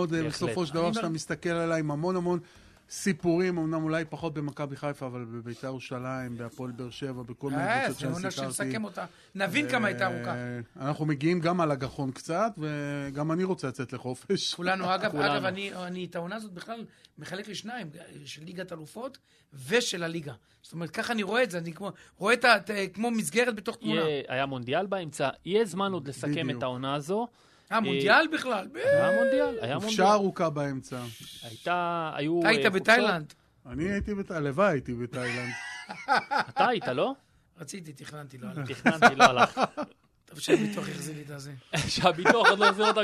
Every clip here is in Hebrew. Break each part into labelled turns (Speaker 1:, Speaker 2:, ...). Speaker 1: אה, בסופו של דבר שאתה מסתכל עליי עם המון המון סיפורים, אמנם אולי פחות במכבי חיפה, אבל בביתר ירושלים, בהפועל באר שבע, בכל מיני אה,
Speaker 2: קבוצות אה, שאני סיכרתי. שנסכם אותה, נבין כמה הייתה ארוכה.
Speaker 1: אנחנו מגיעים גם על הגחון קצת, וגם אני רוצה לצאת לחופש.
Speaker 2: כולנו, אגב, אגב, אני את העונה הזאת בכלל מחלק לשניים, של ליגת אלופות ושל הליגה. זאת אומרת, ככה אני רואה את זה, אני רואה את כמו מסגרת בתוך תמונה. אה,
Speaker 3: היה מונדיאל באמצע, יהיה זמן עוד לסכם את העונה הזו.
Speaker 2: המונדיאל בכלל.
Speaker 3: אה, המונדיאל, היה מונדיאל.
Speaker 1: חופשה ארוכה באמצע.
Speaker 3: הייתה, היו... אה,
Speaker 2: אתה היית בתאילנד.
Speaker 1: אני הייתי בתאילנד, הלוואי הייתי בתאילנד.
Speaker 3: אתה היית, לא?
Speaker 2: רציתי, תכננתי, לא הלך.
Speaker 3: תכננתי, לא הלך.
Speaker 2: טוב שהביטוח החזיר לי את הזה.
Speaker 3: שהביטוח עוד לא החזיר אותה,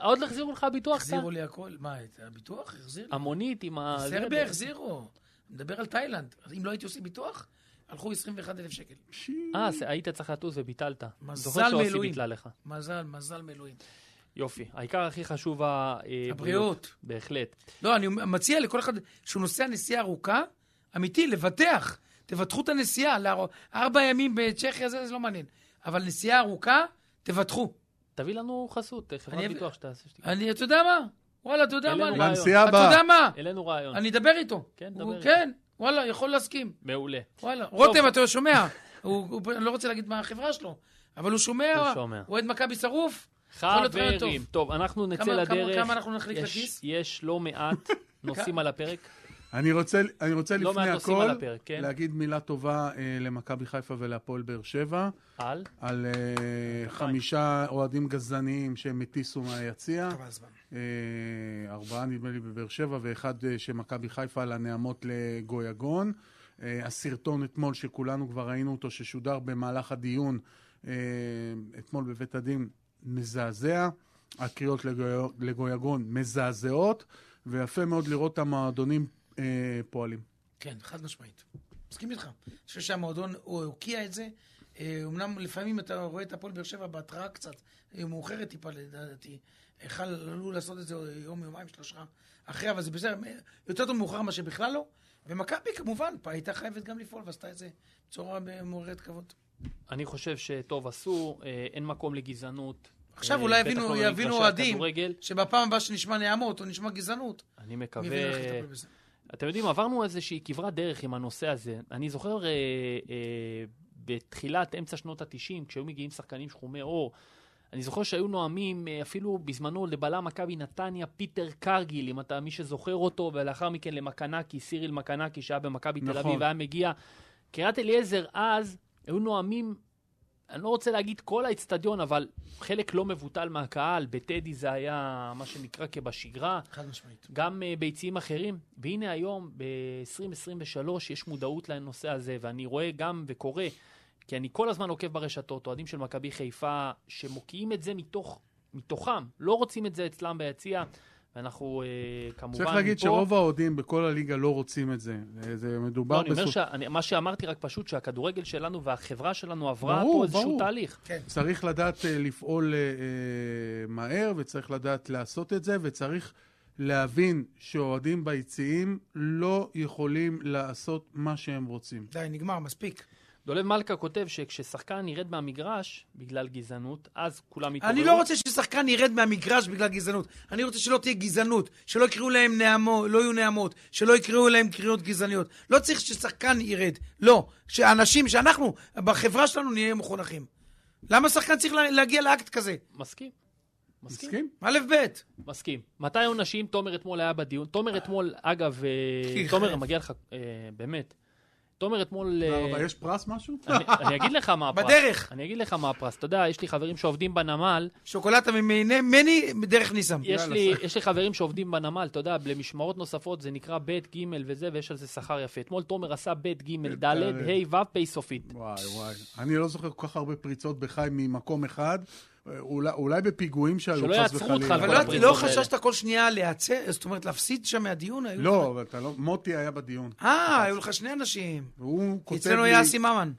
Speaker 3: עוד לא החזירו לך ביטוח?
Speaker 2: החזירו לי הכל. מה, את הביטוח החזירו?
Speaker 3: המונית עם ה...
Speaker 2: סרביה החזירו. מדבר על תאילנד. אם לא הייתי עושה ביטוח, הלכו 21,000 שקל.
Speaker 3: אה, היית צריך לטוס וביטלת.
Speaker 2: מזל מאלוהים.
Speaker 3: מזל,
Speaker 2: מזל מאלוהים.
Speaker 3: יופי. העיקר הכי חשוב אה,
Speaker 2: הבריאות.
Speaker 3: בהחלט.
Speaker 2: לא, אני מציע לכל אחד שהוא נוסע נסיעה ארוכה, אמיתי, לבטח. תבטחו את הנסיעה. ארבע ימים בצ'כיה, זה לא מעניין. אבל נסיעה ארוכה, תבטחו.
Speaker 3: תביא לנו חסות, אה, חברת ביטוח שתעשה.
Speaker 2: אני, אתה יודע מה? וואלה, אתה יודע
Speaker 3: לא
Speaker 2: מה?
Speaker 1: לנסיעה הבאה.
Speaker 2: לא, אתה יודע מה?
Speaker 3: העלינו רעיון.
Speaker 2: אה, אני אדבר איתו.
Speaker 3: כן, דבר איתו.
Speaker 2: כן. וואלה, יכול להסכים.
Speaker 3: מעולה.
Speaker 2: וואלה. רותם, אתה שומע? אני לא רוצה להגיד מה החברה שלו, אבל הוא שומע, הוא אוהד מכבי שרוף.
Speaker 3: חברים, טוב, אנחנו נצא לדרך.
Speaker 2: כמה אנחנו נחליק לכיס?
Speaker 3: יש לא מעט נושאים על הפרק.
Speaker 1: אני רוצה, אני רוצה לא לפני הכל הפרק, כן. להגיד מילה טובה אה, למכבי חיפה ולהפועל באר שבע.
Speaker 3: על?
Speaker 1: על אה, חמישה אוהדים גזעניים שהם הטיסו מהיציע. אה, ארבעה נדמה לי בבאר שבע ואחד אה, שמכבי חיפה על הנעמות לגויגון. אה, הסרטון אתמול שכולנו כבר ראינו אותו ששודר במהלך הדיון אה, אתמול בבית הדין מזעזע. הקריאות לגו... לגויגון מזעזעות. ויפה מאוד לראות את המועדונים אה, פועלים.
Speaker 2: כן, חד משמעית. מסכים איתך. אני חושב שהמועדון, הוא הוקיע את זה. אומנם לפעמים אתה רואה את הפועל באר שבע בהתראה קצת אה, מאוחרת טיפה לדעתי. יכל, עלול לעשות את זה יום, יומיים, שלושה אחרי, אבל זה בסדר, אה, יותר טוב מאוחר מאשר בכלל לא. ומכבי כמובן, פה הייתה חייבת גם לפעול ועשתה את זה בצורה מעוררת כבוד.
Speaker 3: אני חושב שטוב עשו, אה, אין מקום לגזענות, אה, לא
Speaker 2: עכשיו אולי יבינו, יבינו אוהדים, שבפעם הבאה שנשמע נעמות או נשמע גזענות,
Speaker 3: אני מקווה... אתם יודעים, עברנו איזושהי כברת דרך עם הנושא הזה. אני זוכר אה, אה, בתחילת, אמצע שנות ה-90, כשהיו מגיעים שחקנים שחומי עור, אני זוכר שהיו נואמים אה, אפילו בזמנו לבלם מכבי נתניה, פיטר קרגיל, אם אתה מי שזוכר אותו, ולאחר מכן למקנקי, סיריל מקנקי, שהיה במכבי נכון. תל אביב, והיה מגיע. קריית אליעזר אז, היו נואמים אני לא רוצה להגיד כל האצטדיון, אבל חלק לא מבוטל מהקהל, בטדי זה היה מה שנקרא כבשגרה.
Speaker 2: חד משמעית.
Speaker 3: גם uh, ביציעים אחרים. והנה היום, ב-2023, יש מודעות לנושא הזה, ואני רואה גם וקורא, כי אני כל הזמן עוקב ברשתות, אוהדים של מכבי חיפה, שמוקיעים את זה מתוך, מתוכם, לא רוצים את זה אצלם ביציע. ואנחנו uh, כמובן...
Speaker 1: צריך להגיד פה... שרוב האוהדים בכל הליגה לא רוצים את זה. זה מדובר...
Speaker 3: לא, אני אומר שמה שאמרתי רק פשוט שהכדורגל שלנו והחברה שלנו עברה ברור, פה איזשהו ברור. תהליך.
Speaker 1: כן. צריך לדעת uh, לפעול uh, מהר, וצריך לדעת לעשות את זה, וצריך להבין שאוהדים ביציעים לא יכולים לעשות מה שהם רוצים.
Speaker 2: די, נגמר, מספיק.
Speaker 3: דולב מלכה כותב שכששחקן ירד מהמגרש בגלל גזענות, אז כולם
Speaker 2: יתעוררו. אני לא רוצה ששחקן ירד מהמגרש בגלל גזענות. אני רוצה שלא תהיה גזענות, שלא יקראו להם נעמות, לא יהיו נעמות, שלא יקראו להם קריאות גזעניות. לא צריך ששחקן ירד. לא. שאנשים, שאנחנו, בחברה שלנו נהיה מחונכים. למה שחקן צריך להגיע לאקט כזה?
Speaker 3: מסכים.
Speaker 1: מסכים?
Speaker 2: א' ב'.
Speaker 3: מסכים. מתי עונשים? תומר אתמול היה בדיון. תומר אתמול, אגב, אה, תומר, מגיע לך, אה, באמת. תומר אתמול...
Speaker 1: אבל יש פרס משהו?
Speaker 3: אה, אני אגיד לך מה הפרס.
Speaker 2: בדרך.
Speaker 3: אני אגיד לך מה הפרס. אתה יודע, יש לי חברים שעובדים בנמל.
Speaker 2: שוקולטה ממני דרך ניסם.
Speaker 3: יש לי חברים שעובדים בנמל, אתה יודע, למשמרות נוספות זה נקרא ב', ג' וזה, ויש על זה שכר יפה. אתמול תומר עשה ב', ג', ד', ה', ו', פ' סופית.
Speaker 1: וואי, וואי. אני לא זוכר כל כך הרבה פריצות בחי ממקום אחד. אולי, אולי בפיגועים שהיו,
Speaker 3: חס וחלילה. שלא יעצרו אותך.
Speaker 2: אבל לא, לא חששת כל שנייה להיעצר, זאת אומרת, להפסיד שם מהדיון?
Speaker 1: לא, אבל אתה לא... מוטי היה בדיון.
Speaker 2: אה, היו לך שני אנשים.
Speaker 1: הוא כותב לי...
Speaker 2: אצלנו היה אסי ממן.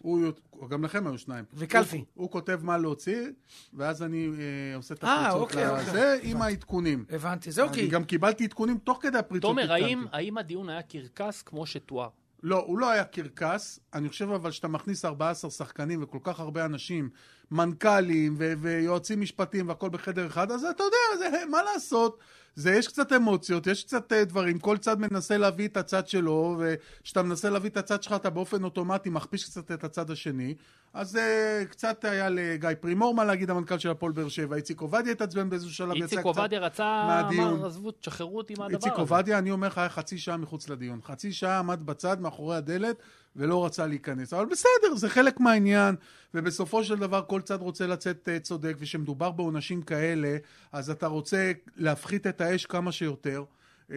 Speaker 1: גם לכם היו שניים.
Speaker 2: וקלפי.
Speaker 1: הוא, כותב מה להוציא, ואז אני אה, עושה את הפריצות לזה, עם העדכונים.
Speaker 2: הבנתי, זה אוקיי.
Speaker 1: אני גם קיבלתי עדכונים תוך כדי הפריצות.
Speaker 3: תומר, האם הדיון היה קרקס כמו שתואר?
Speaker 1: לא, הוא לא היה קרקס. אני חושב אבל שאתה מכניס 14 שחקנים וכל כך הרבה אנשים מנכ"לים ו- ויועצים משפטיים והכל בחדר אחד, אז אתה יודע, זה, אה, מה לעשות? זה יש קצת אמוציות, יש קצת אה, דברים, כל צד מנסה להביא את הצד שלו, וכשאתה מנסה להביא את הצד שלך אתה באופן אוטומטי מכפיש קצת את הצד השני. אז אה, קצת היה לגיא פרימור מה להגיד, המנכ"ל של הפועל באר שבע, איציק עובדיה התעצבן באיזשהו שלב,
Speaker 3: איציק עובדיה רצה, אמר, עזבו, תשחררו אותי מהדבר הזה.
Speaker 1: איציק עובדיה, אני אומר לך, היה חצי שעה מחוץ לדיון. חצי שעה עמד בצד, מאחורי הדלת, ולא רצה להיכנס. אבל בסדר, זה חלק מהעניין, ובסופו של דבר כל צד רוצה לצאת אה, צודק, וכשמדובר בעונשים כאלה, אז אתה רוצה להפחית את האש כמה שיותר. אה,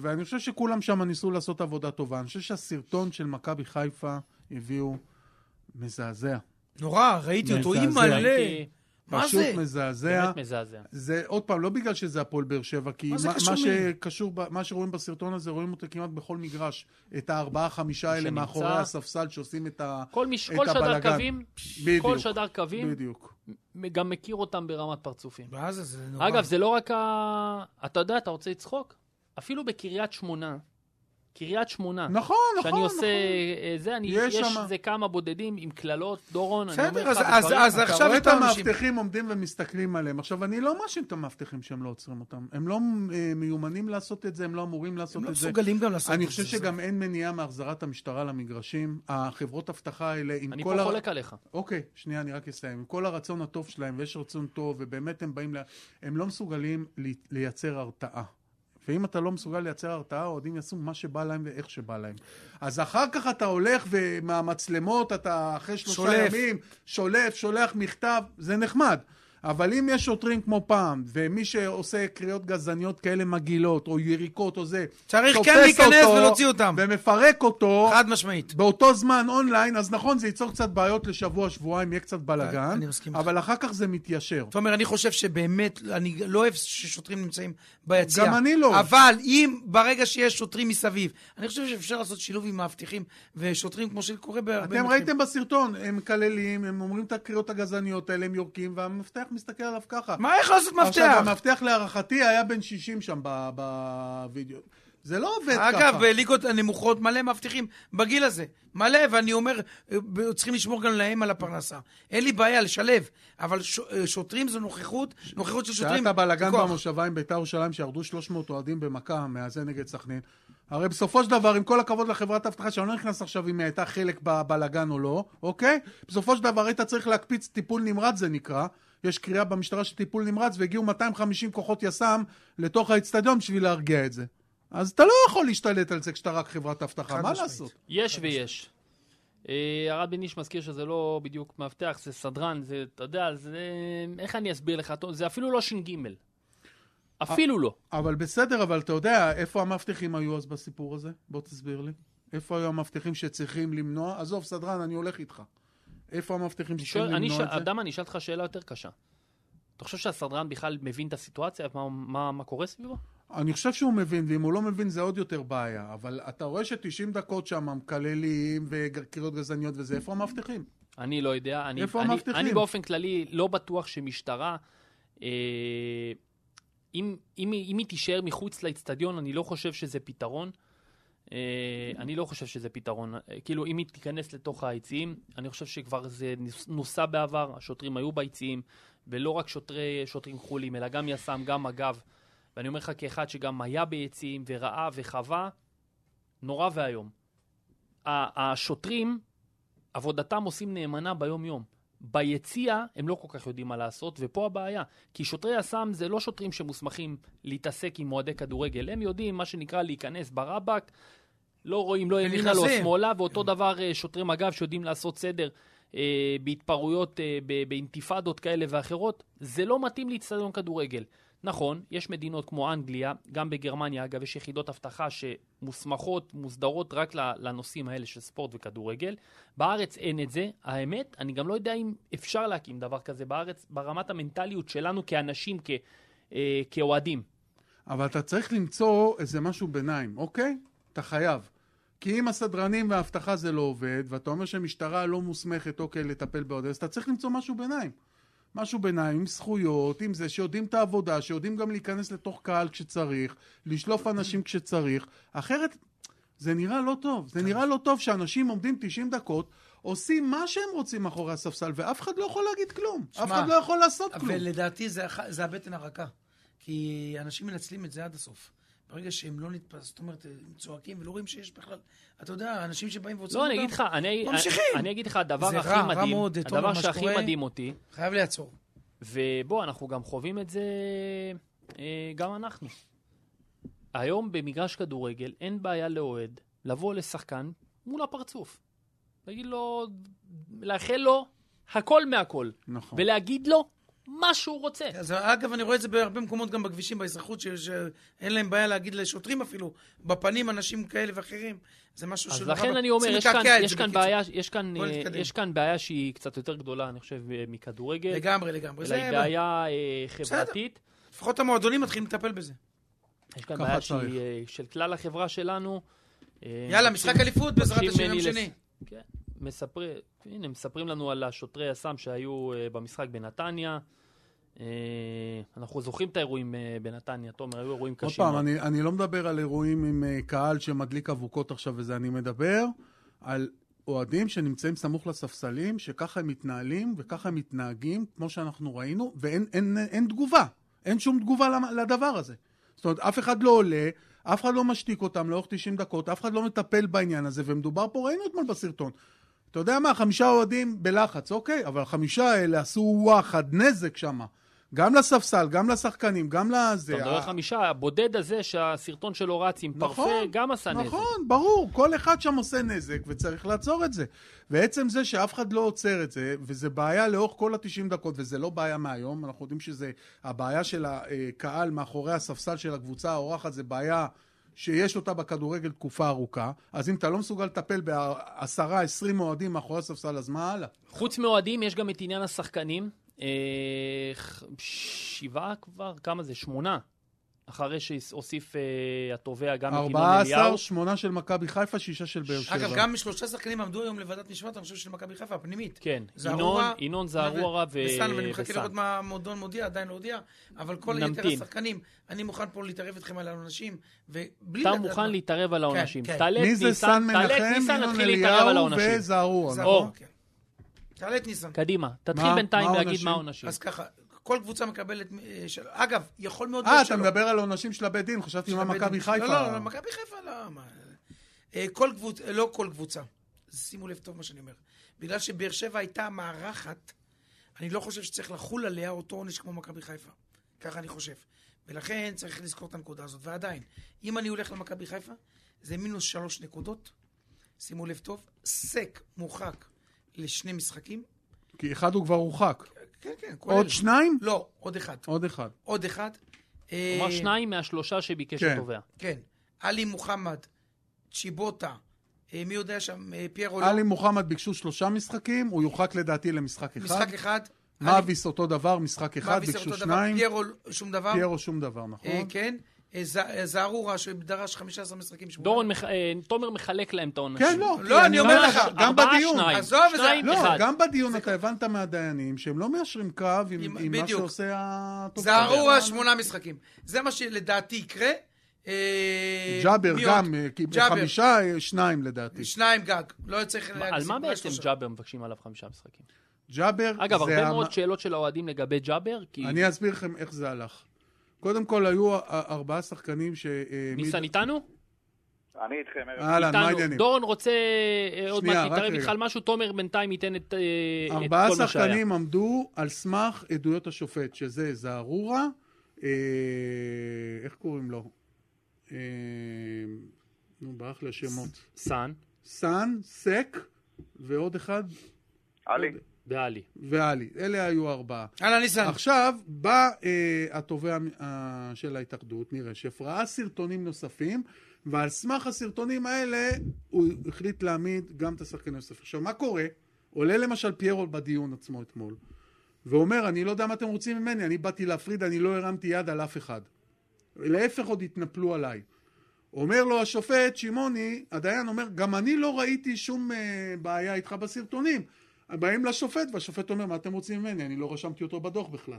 Speaker 1: ואני חושב שכולם שם ניסו לעשות עבודה טובה. אני חושב שהסרטון של מכבי חיפה הביאו מזעזע.
Speaker 2: נורא, ראיתי אותו,
Speaker 1: מזעזע.
Speaker 2: אי מלא.
Speaker 3: ראיתי,
Speaker 2: מה
Speaker 1: פשוט
Speaker 2: זה?
Speaker 1: מזעזע.
Speaker 3: באמת מזעזע.
Speaker 1: זה עוד פעם, לא בגלל שזה הפועל באר שבע, כי
Speaker 2: מה זה
Speaker 1: מה,
Speaker 2: קשור
Speaker 1: מה,
Speaker 2: מי?
Speaker 1: שקשור, ב- מה שרואים בסרטון הזה, רואים אותו כמעט בכל מגרש. את הארבעה-חמישה האלה
Speaker 3: שנמצא.
Speaker 1: מאחורי הספסל שעושים את ה...
Speaker 3: כל מש-
Speaker 1: את
Speaker 3: כל שדר
Speaker 1: הבלגן.
Speaker 3: קווים,
Speaker 1: בדיוק.
Speaker 3: כל שדר קווים,
Speaker 1: בדיוק. נכון.
Speaker 3: גם מכיר אותם ברמת פרצופים.
Speaker 2: מה זה? זה נורא.
Speaker 3: אגב, זה לא רק ה... אתה יודע, אתה רוצה לצחוק? אפילו בקריית שמונה, קריית שמונה,
Speaker 1: נכון, נכון,
Speaker 3: שאני עושה
Speaker 1: נכון.
Speaker 3: אה, זה, אני,
Speaker 1: יש
Speaker 3: יש
Speaker 1: שמה.
Speaker 3: איזה כמה בודדים עם קללות, דורון, אני
Speaker 2: בסדר,
Speaker 3: אומר לך,
Speaker 2: אז-
Speaker 3: זה
Speaker 2: אז-
Speaker 3: דברים-
Speaker 2: אז-
Speaker 1: אתה
Speaker 2: עכשיו
Speaker 1: רואה
Speaker 2: את
Speaker 1: את
Speaker 2: האנשים.
Speaker 1: המאבטחים עומדים ומסתכלים עליהם. עכשיו, אני לא מאשים את המאבטחים שהם לא עוצרים אותם. הם לא אה, מיומנים לעשות את זה, הם לא אמורים לעשות
Speaker 2: הם לא
Speaker 1: את זה.
Speaker 2: מסוגלים גם לעשות את זה.
Speaker 1: אני חושב
Speaker 2: זה-
Speaker 1: שגם אין מניעה מהחזרת המשטרה למגרשים. החברות אבטחה האלה, עם כל...
Speaker 3: אני פה
Speaker 1: הר-
Speaker 3: חולק עליך.
Speaker 1: אוקיי, שנייה, אני רק אסיים. עם כל הרצון הטוב שלהם, ויש רצון טוב, ובאמת הם באים ל... הם לא מסוגלים לי- לייצר הרתעה. ואם אתה לא מסוגל לייצר הרתעה, האוהדים יעשו מה שבא להם ואיך שבא להם. אז אחר כך אתה הולך ומהמצלמות, אתה אחרי שלושה
Speaker 2: שולף.
Speaker 1: ימים, שולף, שולח מכתב, זה נחמד. אבל אם יש שוטרים כמו פעם, ומי שעושה קריאות גזעניות כאלה מגעילות, או יריקות או זה,
Speaker 2: צריך
Speaker 1: תופס
Speaker 2: כן להיכנס
Speaker 1: אותו
Speaker 2: ולהוציא אותם.
Speaker 1: ומפרק אותו,
Speaker 2: חד משמעית.
Speaker 1: באותו זמן אונליין, אז נכון, זה ייצור קצת בעיות לשבוע, שבועיים, יהיה קצת בלאגן,
Speaker 2: אני מסכים איתך.
Speaker 1: אבל אחר כך זה מתיישר.
Speaker 2: תומר, אני חושב שבאמת, אני לא אוהב ששוטרים נמצאים ביציע.
Speaker 1: גם אני לא.
Speaker 2: אבל אם ברגע שיש שוטרים מסביב, אני חושב שאפשר לעשות שילוב עם מאבטחים ושוטרים, כמו שקורה בהרבה
Speaker 1: אתם ראיתם בסרטון, הם מקללים, הם אומרים את הקריאות הגזעניות האלה, הם יורקים, והמפתח מסתכל עליו ככה.
Speaker 2: מה, איך לעשות
Speaker 1: עכשיו,
Speaker 2: מפתח?
Speaker 1: המפתח להערכתי היה בן 60 שם ב- בווידאו. זה לא עובד ככה.
Speaker 2: אגב, בליגות הנמוכות מלא מאבטחים בגיל הזה. מלא, ואני אומר, אה, ב- צריכים לשמור גם להם על הפרנסה. אין לי בעיה, לשלב. אבל ש- אה, שוטרים זו נוכחות, נוכחות של שוטרים.
Speaker 1: שהיה את הבלאגן
Speaker 2: זה כוח.
Speaker 1: במושבה עם ביתר ירושלים, שירדו 300 אוהדים במכה מהזה נגד סכנין. הרי בסופו של דבר, עם כל הכבוד לחברת האבטחה, שאני לא נכנס עכשיו אם היא הייתה חלק בבלאגן או לא, אוקיי? בסופו של דבר היית צריך להקפיץ טיפול נמרץ, זה נקרא. יש קריאה במשטרה של טיפול נמרץ, והגיעו 250 כוחות יס"מ לתוך האצטדיון בשביל להרגיע את זה. אז אתה לא יכול להשתלט על זה כשאתה רק חברת אבטחה,
Speaker 2: חד
Speaker 1: מה
Speaker 2: משמעית.
Speaker 1: לעשות?
Speaker 3: יש ויש. אה, הרב בניש מזכיר שזה לא בדיוק מאבטח, זה סדרן, זה, אתה יודע, זה... איך אני אסביר לך? זה אפילו לא ש"ג.
Speaker 1: אה,
Speaker 3: אפילו לא.
Speaker 1: אבל בסדר, אבל אתה יודע, איפה המאבטחים היו אז בסיפור הזה? בוא תסביר לי. איפה היו המאבטחים שצריכים למנוע? עזוב, סדרן, אני הולך איתך. איפה המאבטחים
Speaker 3: אני
Speaker 1: שצריכים
Speaker 3: שואל, אני
Speaker 1: למנוע
Speaker 3: ש...
Speaker 1: את זה?
Speaker 3: אדם, אני אשאל אותך שאלה יותר קשה. אתה חושב שהסדרן בכלל מבין את הסיטואציה, מה, מה, מה קורה סביבו?
Speaker 1: אני חושב שהוא מבין, ואם הוא לא מבין זה עוד יותר בעיה. אבל אתה רואה ש-90 דקות שם מקללים וקריאות גזעניות וזה, איפה המאבטחים?
Speaker 3: אני לא יודע. אני,
Speaker 1: איפה
Speaker 3: אני,
Speaker 1: המאבטחים?
Speaker 3: אני באופן כללי לא בטוח שמשטרה, אה, אם, אם, היא- אם היא תישאר מחוץ לאצטדיון, אני לא חושב שזה פתרון. אה, אני לא חושב שזה פתרון. אה, כאילו, אם היא תיכנס לתוך היציעים, אני חושב שכבר זה נוס- נוסה בעבר, השוטרים היו ביציעים, ולא רק שוטרי, שוטרים כחולים, אלא גם יס"מ, גם מג"ב. ואני אומר לך כאחד שגם היה ביציעים וראה וחווה, נורא ואיום. ה- השוטרים, עבודתם עושים נאמנה ביום-יום. ביציע הם לא כל כך יודעים מה לעשות, ופה הבעיה. כי שוטרי יס"מ זה לא שוטרים שמוסמכים להתעסק עם אוהדי כדורגל. הם יודעים, מה שנקרא, להיכנס ברבק, לא רואים לא ימינה, לא
Speaker 2: ונכנסים.
Speaker 3: שמאלה, ואותו דבר אה, שוטרי מג"ב שיודעים לעשות סדר אה, בהתפרעויות, אה, ב- באינתיפאדות כאלה ואחרות. זה לא מתאים לאצטדיון כדורגל. נכון, יש מדינות כמו אנגליה, גם בגרמניה, אגב, יש יחידות אבטחה שמוסמכות, מוסדרות רק ל- לנושאים האלה של ספורט וכדורגל. בארץ אין את זה. האמת, אני גם לא יודע אם אפשר להקים דבר כזה בארץ, ברמת המנטליות שלנו כאנשים, כ- אה, כאוהדים.
Speaker 1: אבל אתה צריך למצוא איזה משהו ביניים, אוקיי? אתה חייב. כי אם הסדרנים והאבטחה זה לא עובד, ואתה אומר שהמשטרה לא מוסמכת, אוקיי, לטפל באוהדים, אז אתה צריך למצוא משהו ביניים. משהו ביניים, עם זכויות, עם זה, שיודעים את העבודה, שיודעים גם להיכנס לתוך קהל כשצריך, לשלוף אנשים כשצריך. אחרת, זה נראה לא טוב. זה נראה לא טוב שאנשים עומדים 90 דקות, עושים מה שהם רוצים מאחורי הספסל, ואף אחד לא יכול להגיד כלום.
Speaker 2: שמע,
Speaker 1: אף אחד לא יכול לעשות כלום.
Speaker 2: ולדעתי זה, הח- זה הבטן הרכה. כי אנשים מנצלים את זה עד הסוף. ברגע שהם לא נתפס, זאת אומרת, הם צועקים ולא רואים שיש בכלל... אתה יודע, אנשים שבאים ועוצרים
Speaker 3: לא,
Speaker 2: אותם...
Speaker 3: אני אגיד לך, אני,
Speaker 2: ממשיכים.
Speaker 3: אני אגיד לך, הדבר
Speaker 2: זה
Speaker 3: הכי
Speaker 2: רע, רע
Speaker 3: מדהים,
Speaker 2: מאוד, תומר,
Speaker 3: הדבר
Speaker 2: מה
Speaker 3: שהכי
Speaker 2: שקורה.
Speaker 3: מדהים אותי,
Speaker 2: חייב לעצור.
Speaker 3: ובוא, אנחנו גם חווים את זה אה, גם אנחנו. היום במגרש כדורגל אין בעיה לאוהד לבוא לשחקן מול הפרצוף. להגיד לו, לאחל לו הכל מהכל,
Speaker 1: נכון.
Speaker 3: ולהגיד לו מה שהוא רוצה.
Speaker 2: אז אגב, אני רואה את זה בהרבה מקומות גם בכבישים, באזרחות, ש- שאין להם בעיה להגיד לשוטרים אפילו, בפנים אנשים כאלה ואחרים. זה משהו
Speaker 3: אז
Speaker 2: שנורא-
Speaker 3: לכן אני
Speaker 2: צריך
Speaker 3: אומר, יש כאן,
Speaker 2: לקעקע את
Speaker 3: יש
Speaker 2: זה
Speaker 3: כאן
Speaker 2: בקיצור.
Speaker 3: בעיה, יש כאן,
Speaker 2: בוא
Speaker 3: אה,
Speaker 2: נתקדם.
Speaker 3: יש כאן בעיה שהיא קצת יותר גדולה, אני חושב, אה, מכדורגל,
Speaker 2: לגמרי, לגמרי.
Speaker 3: אלא
Speaker 2: זה
Speaker 3: היא בעיה אה, חברתית.
Speaker 2: לפחות המועדונים מתחילים לטפל בזה.
Speaker 3: כן, יש כאן
Speaker 1: ככה
Speaker 3: בעיה
Speaker 1: צריך.
Speaker 3: שהיא אה, של כלל החברה שלנו. אה,
Speaker 2: יאללה,
Speaker 3: מבקשים-
Speaker 2: משחק אליפות בעזרת
Speaker 3: מבקשים
Speaker 2: השם, יום
Speaker 3: ממני לס-
Speaker 2: שני.
Speaker 3: כן, מספר- הנה, מספרים לנו על השוטרי יס"מ שהיו אה, במשחק בנתניה. אה, אנחנו זוכרים את האירועים אה, בנתניה, תומר, היו אירועים
Speaker 1: עוד
Speaker 3: קשים.
Speaker 1: פעם,
Speaker 3: מאוד.
Speaker 1: אני, אני לא מדבר על אירועים עם אה, קהל שמדליק אבוקות עכשיו וזה, אני מדבר על אוהדים שנמצאים סמוך לספסלים, שככה הם מתנהלים וככה הם מתנהגים, כמו שאנחנו ראינו, ואין אין, אין, אין תגובה. אין שום תגובה למ- לדבר הזה. זאת אומרת, אף אחד לא עולה, אף אחד לא משתיק אותם לאורך 90 דקות, אף אחד לא מטפל בעניין הזה, ומדובר פה, ראינו אתמול בסרטון. אתה יודע מה, חמישה אוהדים בלחץ, אוקיי, אבל החמישה האלה עשו וואחד, נזק שמה. גם לספסל, גם לשחקנים, גם לזה.
Speaker 3: אתה מדבר
Speaker 2: אה,
Speaker 1: ה-
Speaker 3: חמישה, הבודד הזה שהסרטון שלו רץ עם
Speaker 1: נכון,
Speaker 3: פרפה, גם עשה נזק.
Speaker 1: נכון, ברור, כל אחד שם עושה נזק וצריך לעצור את זה. ועצם זה שאף אחד לא עוצר את זה, וזה בעיה לאורך כל ה-90 דקות, וזה לא בעיה מהיום, אנחנו יודעים שזה הבעיה של הקהל מאחורי הספסל של הקבוצה האורחת, זה בעיה שיש אותה בכדורגל תקופה ארוכה, אז אם אתה לא מסוגל לטפל בעשרה, עשרים אוהדים מאחורי הספסל, אז מה הלאה?
Speaker 3: חוץ מאוהדים, יש גם את עניין השחקנים. אה, ח- שבעה כבר, כמה זה? שמונה. אחרי שהוסיף אה, התובע גם את ינון
Speaker 1: ארבעה
Speaker 3: אליהו.
Speaker 1: עשר, שמונה של מכבי חיפה, שישה של באר שבע.
Speaker 2: אגב, גם שלושה שחקנים עמדו היום לוועדת משמעת, אני חושב של מכבי חיפה, הפנימית.
Speaker 3: כן, ינון,
Speaker 2: זערורה,
Speaker 3: ינון זערורה ו-
Speaker 2: וסן, ואני מחכה
Speaker 3: וסן.
Speaker 2: לראות מה המועדון מודיע, עדיין לא הודיע, אבל כל יתר
Speaker 3: נמתין.
Speaker 2: השחקנים, אני מוכן פה להתערב איתכם על האנשים, ובלי...
Speaker 3: אתה
Speaker 2: לדעת מה-
Speaker 3: מוכן להתערב על העונשים.
Speaker 2: כן.
Speaker 3: תעלה את
Speaker 1: מי זה
Speaker 3: ניסן,
Speaker 1: סן
Speaker 3: תעלה את
Speaker 1: מנחם,
Speaker 3: ניסן,
Speaker 1: ינון
Speaker 3: נתחיל להתערב על
Speaker 1: אליהו
Speaker 3: העונשים.
Speaker 1: וזערורה.
Speaker 2: זערורה,
Speaker 3: אור.
Speaker 2: כן. תעלה את ניסן.
Speaker 3: קדימה, תתחיל
Speaker 1: מה-
Speaker 3: בינתיים
Speaker 1: מה
Speaker 3: להגיד
Speaker 1: העונשים?
Speaker 3: מה העונשים.
Speaker 2: אז ככה, כל קבוצה מקבלת... אה, של- אגב, יכול מאוד
Speaker 1: אה,
Speaker 2: להיות
Speaker 1: אתה
Speaker 2: שלא.
Speaker 1: מדבר על עונשים של הבית דין, חשבתי מה מכבי חיפה.
Speaker 2: לא, לא, לא, מכבי חיפה, לא. מה- אה, כל קבוצה, לא כל קבוצה. שימו לב טוב מה שאני אומר. בגלל שבאר שבע הייתה המארחת, אני לא חושב שצריך לחול עליה אותו עונש כמו מכבי חיפה. ככה אני חושב. ולכן צריך לזכור את הנקודה הזאת. ועדיין, אם אני הולך למכבי חיפה, זה מינוס שלוש נקודות. שימו לב טוב, סק מורחק לשני משחקים.
Speaker 1: כי אחד הוא כבר הורחק.
Speaker 2: כן, כן, כולל.
Speaker 1: עוד שניים?
Speaker 2: לא, עוד אחד.
Speaker 1: עוד אחד.
Speaker 2: עוד אחד.
Speaker 3: כלומר,
Speaker 2: אה,
Speaker 3: שניים מהשלושה שביקש
Speaker 1: כן.
Speaker 3: התובע.
Speaker 2: כן. עלי מוחמד, צ'יבוטה, אה, מי יודע שם, אה, פיירו לא.
Speaker 1: עלי מוחמד ביקשו שלושה משחקים, הוא יורחק לדעתי למשחק אחד.
Speaker 2: משחק אחד.
Speaker 1: מאביס אותו דבר, משחק אחד,
Speaker 2: מאביס
Speaker 1: ביקשו
Speaker 2: אותו דבר,
Speaker 1: שניים.
Speaker 2: פיירו שום דבר.
Speaker 1: פיירו שום דבר, נכון?
Speaker 2: אה, כן. אה, ז- אה, זערורה שדרש 15 משחקים. שמונה.
Speaker 3: דורון, מח- אה, תומר מחלק להם את העונשים.
Speaker 1: כן, לא.
Speaker 2: לא,
Speaker 1: כי
Speaker 2: אני אומר
Speaker 1: גם-
Speaker 2: לך,
Speaker 1: גם
Speaker 3: ארבעה,
Speaker 1: בדיון.
Speaker 3: שניים.
Speaker 2: עזוב את זה.
Speaker 3: שניים,
Speaker 1: לא,
Speaker 3: אחד.
Speaker 1: גם בדיון אתה הבנת מהדיינים שהם לא מאשרים קרב עם
Speaker 2: עם-
Speaker 1: עם מה
Speaker 2: בדיוק.
Speaker 1: שעושה הטוב. כן.
Speaker 2: זערורה שמונה משחקים. זה מה שלדעתי יקרה. אה,
Speaker 1: ג'אבר
Speaker 2: מי
Speaker 1: גם,
Speaker 2: עוד?
Speaker 1: אה, כי-
Speaker 2: ג'אבר.
Speaker 1: חמישה, אה, שניים לדעתי.
Speaker 2: שניים גג. לא צריך
Speaker 1: אה,
Speaker 3: מה- על
Speaker 2: להגזים,
Speaker 3: מה
Speaker 2: אולי
Speaker 3: בעצם
Speaker 2: שלושה.
Speaker 3: ג'אבר מבקשים עליו חמישה משחקים?
Speaker 1: ג'אבר
Speaker 3: אגב,
Speaker 1: זה
Speaker 3: הרבה
Speaker 1: המ-
Speaker 3: מאוד שאלות של האוהדים לגבי ג'אבר, כי
Speaker 1: אני אסביר לכם איך זה הלך. קודם כל, היו אה, ארבעה שחקנים ש... אה, מי-
Speaker 3: ניסן איתנו?
Speaker 4: אני איתכם, ארז.
Speaker 1: אהלן, מה
Speaker 3: איתנו.
Speaker 1: העניינים?
Speaker 3: דורון רוצה אה, עוד
Speaker 1: שנייה,
Speaker 3: מעט
Speaker 1: רק
Speaker 3: להתערב
Speaker 1: רגע.
Speaker 3: איתך על משהו, תומר בינתיים ייתן את אה, את
Speaker 1: ארבעה
Speaker 3: כל מה שהיה.
Speaker 1: שחקנים עמדו על סמך עדויות השופט, שזה זערורה, אה, איך קוראים לו? אה, נו, ברח לי השמות.
Speaker 3: סאן
Speaker 1: סאן, סק, ועוד אחד,
Speaker 4: עלי,
Speaker 3: ועלי.
Speaker 1: ועלי. אלה היו ארבעה.
Speaker 2: אהלן ניסן.
Speaker 1: עכשיו, בא אה, התובע אה, של ההתאחדות, ניר רשף, ראה סרטונים נוספים, ועל סמך הסרטונים האלה, הוא החליט להעמיד גם את השחקן יוסף. עכשיו, מה קורה? עולה למשל פיירו בדיון עצמו אתמול, ואומר, אני לא יודע מה אתם רוצים ממני, אני באתי להפריד, אני לא הרמתי יד על אף אחד. להפך, עוד התנפלו עליי. אומר לו השופט שמעוני, הדיין אומר, גם אני לא ראיתי שום אה, בעיה איתך בסרטונים. באים לשופט, והשופט אומר, מה אתם רוצים ממני? אני לא רשמתי אותו בדוח בכלל.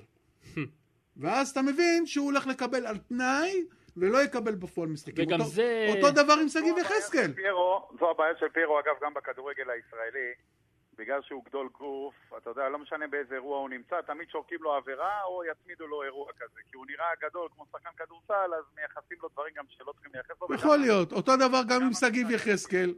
Speaker 1: ואז אתה מבין שהוא הולך לקבל על תנאי, ולא יקבל בפועל משחקים.
Speaker 3: וגם
Speaker 1: אותו,
Speaker 3: זה-
Speaker 1: אותו דבר עם שגיב
Speaker 4: זו הבעיה של
Speaker 1: יחזקאל.
Speaker 4: פיירו, זו הבעיה של פיירו, אגב, גם בכדורגל הישראלי, בגלל שהוא גדול גוף, אתה יודע, לא משנה באיזה אירוע הוא נמצא, תמיד שורקים לו עבירה או יצמידו לו אירוע כזה. כי הוא נראה גדול כמו שחקן כדורסל, אז מייחסים לו דברים גם שלא צריכים לייחס לו.
Speaker 1: יכול להיות, אותו דבר גם עם שגיב יחזקאל.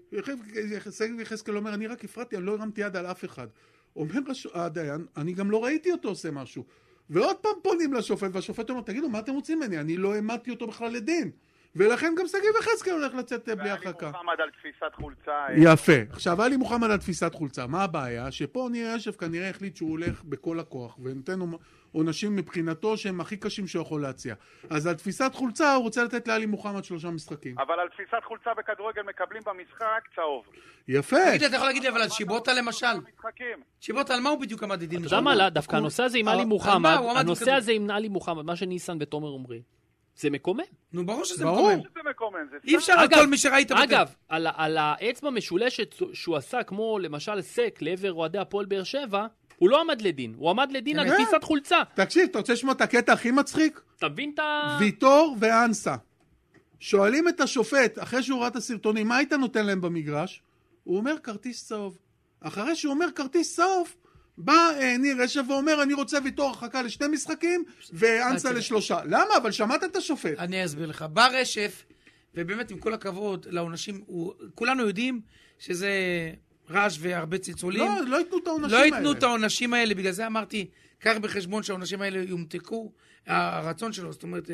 Speaker 1: שגיב יחזקאל אומר, אני רק הפרעתי, אני לא הרמתי יד על אף אחד. אומר הדיין, אני גם לא ראיתי אותו עושה משהו. ועוד פעם פונים לשופט, והשופט אומר, תגידו, מה אתם רוצים ממני? אני לא העמדתי אותו בכלל לדין. ולכן גם שגיב יחזקאל הולך לצאת בלי הרחקה.
Speaker 4: ואלי מוחמד על תפיסת חולצה. אה,
Speaker 1: יפה. עכשיו, אלי מוחמד על תפיסת חולצה, מה הבעיה? שפה ניר אשף כנראה החליט שהוא הולך בכל הכוח, ונותן עונשים מבחינתו שהם הכי קשים שהוא יכול להציע. אז על תפיסת חולצה הוא רוצה לתת לאלי מוחמד שלושה משחקים.
Speaker 4: אבל על תפיסת חולצה בכדורגל מקבלים במשחק צהוב.
Speaker 1: יפה.
Speaker 2: תגיד, אתה יכול להגיד לי, אבל על שיבוטה למשל. שיבוטה, על מה הוא בדיוק עמד לדין?
Speaker 3: אתה יודע מה, לא, דווקא הנושא הזה עם
Speaker 1: אה,
Speaker 3: אלי מוחמד, הנושא הזה עם אלי מוחמד, מה שניסן ותומר אומרים. זה מקומם.
Speaker 2: נו, ברור שזה ברור. מקומם.
Speaker 4: שזה מקומם זה
Speaker 2: אי אפשר על כל מי שראית.
Speaker 3: אגב, על, על האצבע משולשת שהוא עשה, כמו למשל סק לעבר אוהדי הפועל באר שבע, הוא לא עמד לדין. הוא עמד לדין על תפיסת חולצה.
Speaker 1: תקשיב, אתה רוצה לשמוע את הקטע הכי מצחיק?
Speaker 3: אתה מבין את ה...
Speaker 1: ויטור ואנסה. שואלים את השופט, אחרי שהוא ראה את הסרטונים, מה היית נותן להם במגרש? הוא אומר כרטיס צהוב. אחרי שהוא אומר כרטיס צהוב, בא אה, ניר רשב ואומר, אני רוצה ויתור הרחקה לשני משחקים, ואנסה לשלושה. למה? אבל שמעת את השופט.
Speaker 2: אוקיי. אני אסביר לך. בא רשף, ובאמת, עם כל הכבוד לעונשים, הוא... כולנו יודעים שזה רעש והרבה צלצולים.
Speaker 1: לא, לא ייתנו את העונשים
Speaker 2: לא
Speaker 1: האלה.
Speaker 2: לא ייתנו את העונשים האלה, בגלל זה אמרתי, קח בחשבון שהעונשים האלה יומתקו, הרצון שלו, זאת אומרת,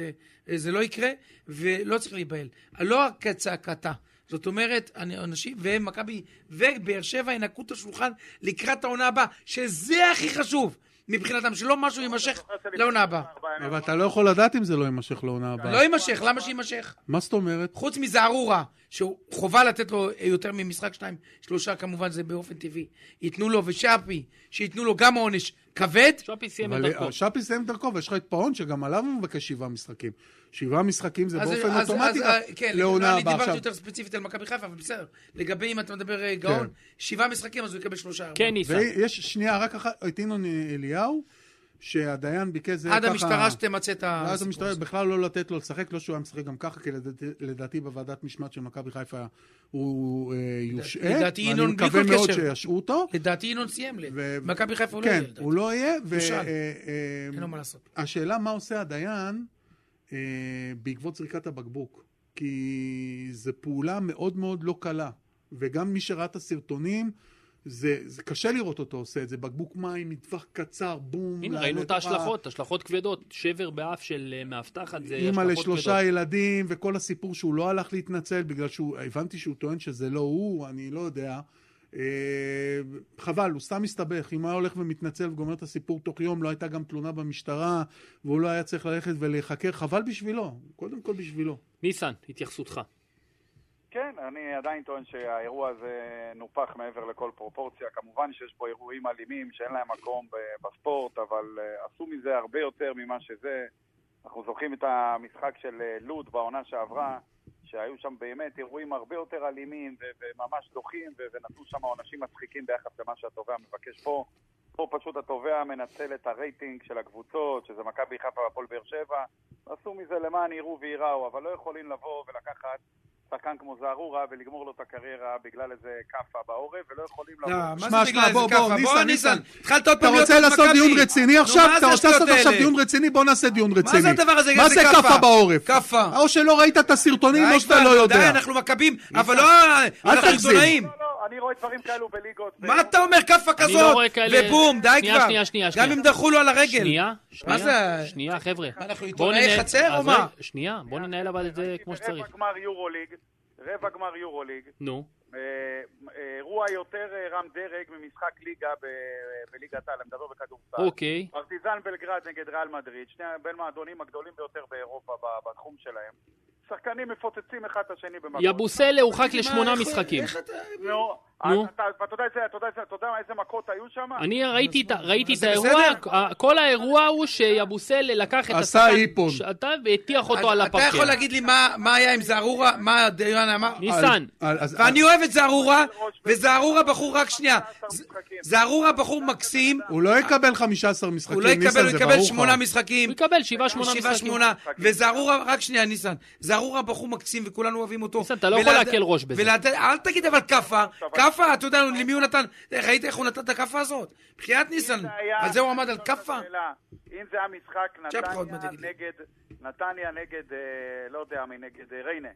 Speaker 2: זה לא יקרה, ולא צריך להיבהל. לא כצעקתה. זאת אומרת, אנשים, ומכבי ובאר שבע ינקו את השולחן לקראת העונה הבאה, שזה הכי חשוב מבחינתם, שלא משהו יימשך לעונה הבאה.
Speaker 1: אבל אתה לא יכול לדעת אם זה לא יימשך לעונה הבאה.
Speaker 2: לא יימשך, למה שיימשך?
Speaker 1: מה זאת אומרת?
Speaker 2: חוץ מזערורה, שחובה לתת לו אה, יותר ממשחק שניים, שלושה כמובן, זה באופן טבעי. ייתנו לו, ושאפי, שייתנו לו גם עונש כבד.
Speaker 3: שפי סיים
Speaker 1: אה,
Speaker 3: את דרכו.
Speaker 1: שפי סיים את דרכו, ויש לך את פאון, שגם עליו הוא מבקש שבעה משחקים. שבעה משחקים זה באופן אוטומטי
Speaker 2: אה,
Speaker 1: לעונה הבאה.
Speaker 2: אני כן, דיברתי יותר ספציפית על מכבי חיפה, אבל בסדר. לגבי אם אתה מדבר אה,
Speaker 1: כן.
Speaker 2: גאון, שבעה משחקים אז הוא יקבל שלושה ארבעה.
Speaker 3: כן, ניסן.
Speaker 1: ויש שנייה, רק אחת, את ינון אליהו. שהדיין ביקש זה
Speaker 2: עד המשטרה שתמצה את הסיפור.
Speaker 1: עד המשטרה בכלל לא לתת לו לשחק, לא שהוא היה משחק גם ככה, כי לדעתי בוועדת משמעת של מכבי חיפה הוא אה, יושעה.
Speaker 2: לדעתי ינון
Speaker 1: בלי כל קשר. ואני מקווה מאוד שישעו אותו.
Speaker 2: לדעתי ינון סיים, מכבי חיפה הוא
Speaker 1: לא יהיה. כן, הוא לא יהיה. אה,
Speaker 2: אין לו מה לעשות.
Speaker 1: השאלה מה עושה הדיין אה, בעקבות זריקת הבקבוק, כי זו פעולה מאוד מאוד לא קלה, וגם מי שראה את הסרטונים, זה, זה קשה לראות אותו עושה את זה, בקבוק מים, מטווח קצר, בום.
Speaker 3: הנה, ראינו
Speaker 2: אה,
Speaker 3: את ההשלכות, השלכות כבדות, שבר באף של uh, מאבטחת, זה
Speaker 1: השלכות כבדות. אימא לשלושה ילדים, וכל הסיפור שהוא לא הלך להתנצל, בגלל שהוא, הבנתי שהוא טוען שזה לא הוא, אני לא יודע. אה, חבל, הוא סתם מסתבך. אם היה הולך ומתנצל וגומר את הסיפור תוך יום, לא הייתה גם תלונה במשטרה, והוא לא היה צריך ללכת ולהיחקר. חבל בשבילו, קודם כל בשבילו.
Speaker 3: ניסן, התייחסותך.
Speaker 4: כן, אני עדיין טוען שהאירוע הזה נופח מעבר לכל פרופורציה. כמובן שיש פה אירועים אלימים שאין להם מקום בספורט, אבל אה, עשו מזה הרבה יותר ממה שזה. אנחנו זוכרים את המשחק של אה, לוד בעונה שעברה, שהיו שם באמת אירועים הרבה יותר אלימים וממש דוחים, ונתנו שם עונשים מצחיקים ביחס למה שהתובע מבקש פה. פה פשוט התובע מנצל את הרייטינג של הקבוצות, שזה מכבי חיפה והפועל באר שבע. עשו מזה למען יראו וייראו, אבל לא יכולים לבוא ולקחת שחקן כמו זערורה ולגמור לו את הקריירה בגלל איזה כאפה בעורף, ולא יכולים
Speaker 2: לבוא. שמע, שמע, בוא, בוא, ניסן, ניסן. התחלת עוד
Speaker 1: פעם להיות אתה רוצה לעשות דיון רציני עכשיו? אתה רוצה לעשות עכשיו דיון רציני? בוא נעשה דיון רציני.
Speaker 2: מה זה הדבר הזה?
Speaker 1: מה זה כאפה בעורף?
Speaker 2: כאפה.
Speaker 1: או שלא ראית את הסרטונים או שאתה לא יודע.
Speaker 2: די, אנחנו מכבים, אבל לא... אנחנו עיתונאים.
Speaker 4: לא, אני רואה דברים כאלו בליגות.
Speaker 2: מה אתה אומר כאפה כזאת? ובום, די כבר. לא שנייה, שנייה, שנייה. גם אם דחו לו על הרגל.
Speaker 3: שנייה, שנייה, שנייה, חבר'ה.
Speaker 2: כן. אנחנו עיתונאי חצר או מה?
Speaker 3: שנייה, בוא ננהל אבל את זה כמו שצריך.
Speaker 4: רבע גמר יורוליג, רבע גמר יורוליג.
Speaker 3: נו.
Speaker 4: אה, אירוע יותר אה, רם דרג ממשחק ליגה בליגת העל, אני מדבר בכדורסל.
Speaker 3: אוקיי.
Speaker 4: פרטיזן בלגרד נגד ריאל מדריד, שני בין מועדונים הגדולים ביותר באירופה בתחום שלהם. שחקנים מפוצצים אחד את השני במקום.
Speaker 3: יבוסלה הורחק לשמונה משחקים.
Speaker 4: נו, נו. אתה יודע איזה מכות היו שם?
Speaker 3: אני ראיתי את האירוע, כל האירוע הוא שיבוסלה לקח את השחקן,
Speaker 1: עשה איפון,
Speaker 3: והטיח אותו על הפרקר.
Speaker 2: אתה יכול להגיד לי מה היה עם זערורה, מה דיון אמר?
Speaker 3: ניסן.
Speaker 2: ואני אוהב את זערורה, וזערורה בחור, רק שנייה, זערורה בחור מקסים.
Speaker 1: הוא לא יקבל 15 משחקים, ניסן,
Speaker 2: הוא לא יקבל 8 משחקים.
Speaker 3: הוא יקבל 7-8
Speaker 2: משחקים. וזערורה, רק שנייה, ניסן. זערורה בחור מקסים וכולנו אוהבים אותו.
Speaker 3: ניסן, אתה לא יכול להקל ראש בזה.
Speaker 2: אל תגיד אבל כאפה, כאפה, אתה יודע למי הוא נתן, ראית איך הוא נתן את הכאפה הזאת? בחייאת ניסן,
Speaker 4: זה היה- לא
Speaker 2: על זה הוא עמד על
Speaker 4: זאת
Speaker 2: כאפה?
Speaker 4: השאלה. אם זה היה משחק
Speaker 2: צ'פחה עוד מעט
Speaker 4: נתניה
Speaker 2: יגיד לי.
Speaker 4: נגד, נתניה נגד, אה, לא יודע מי, נגד אה, ריינה,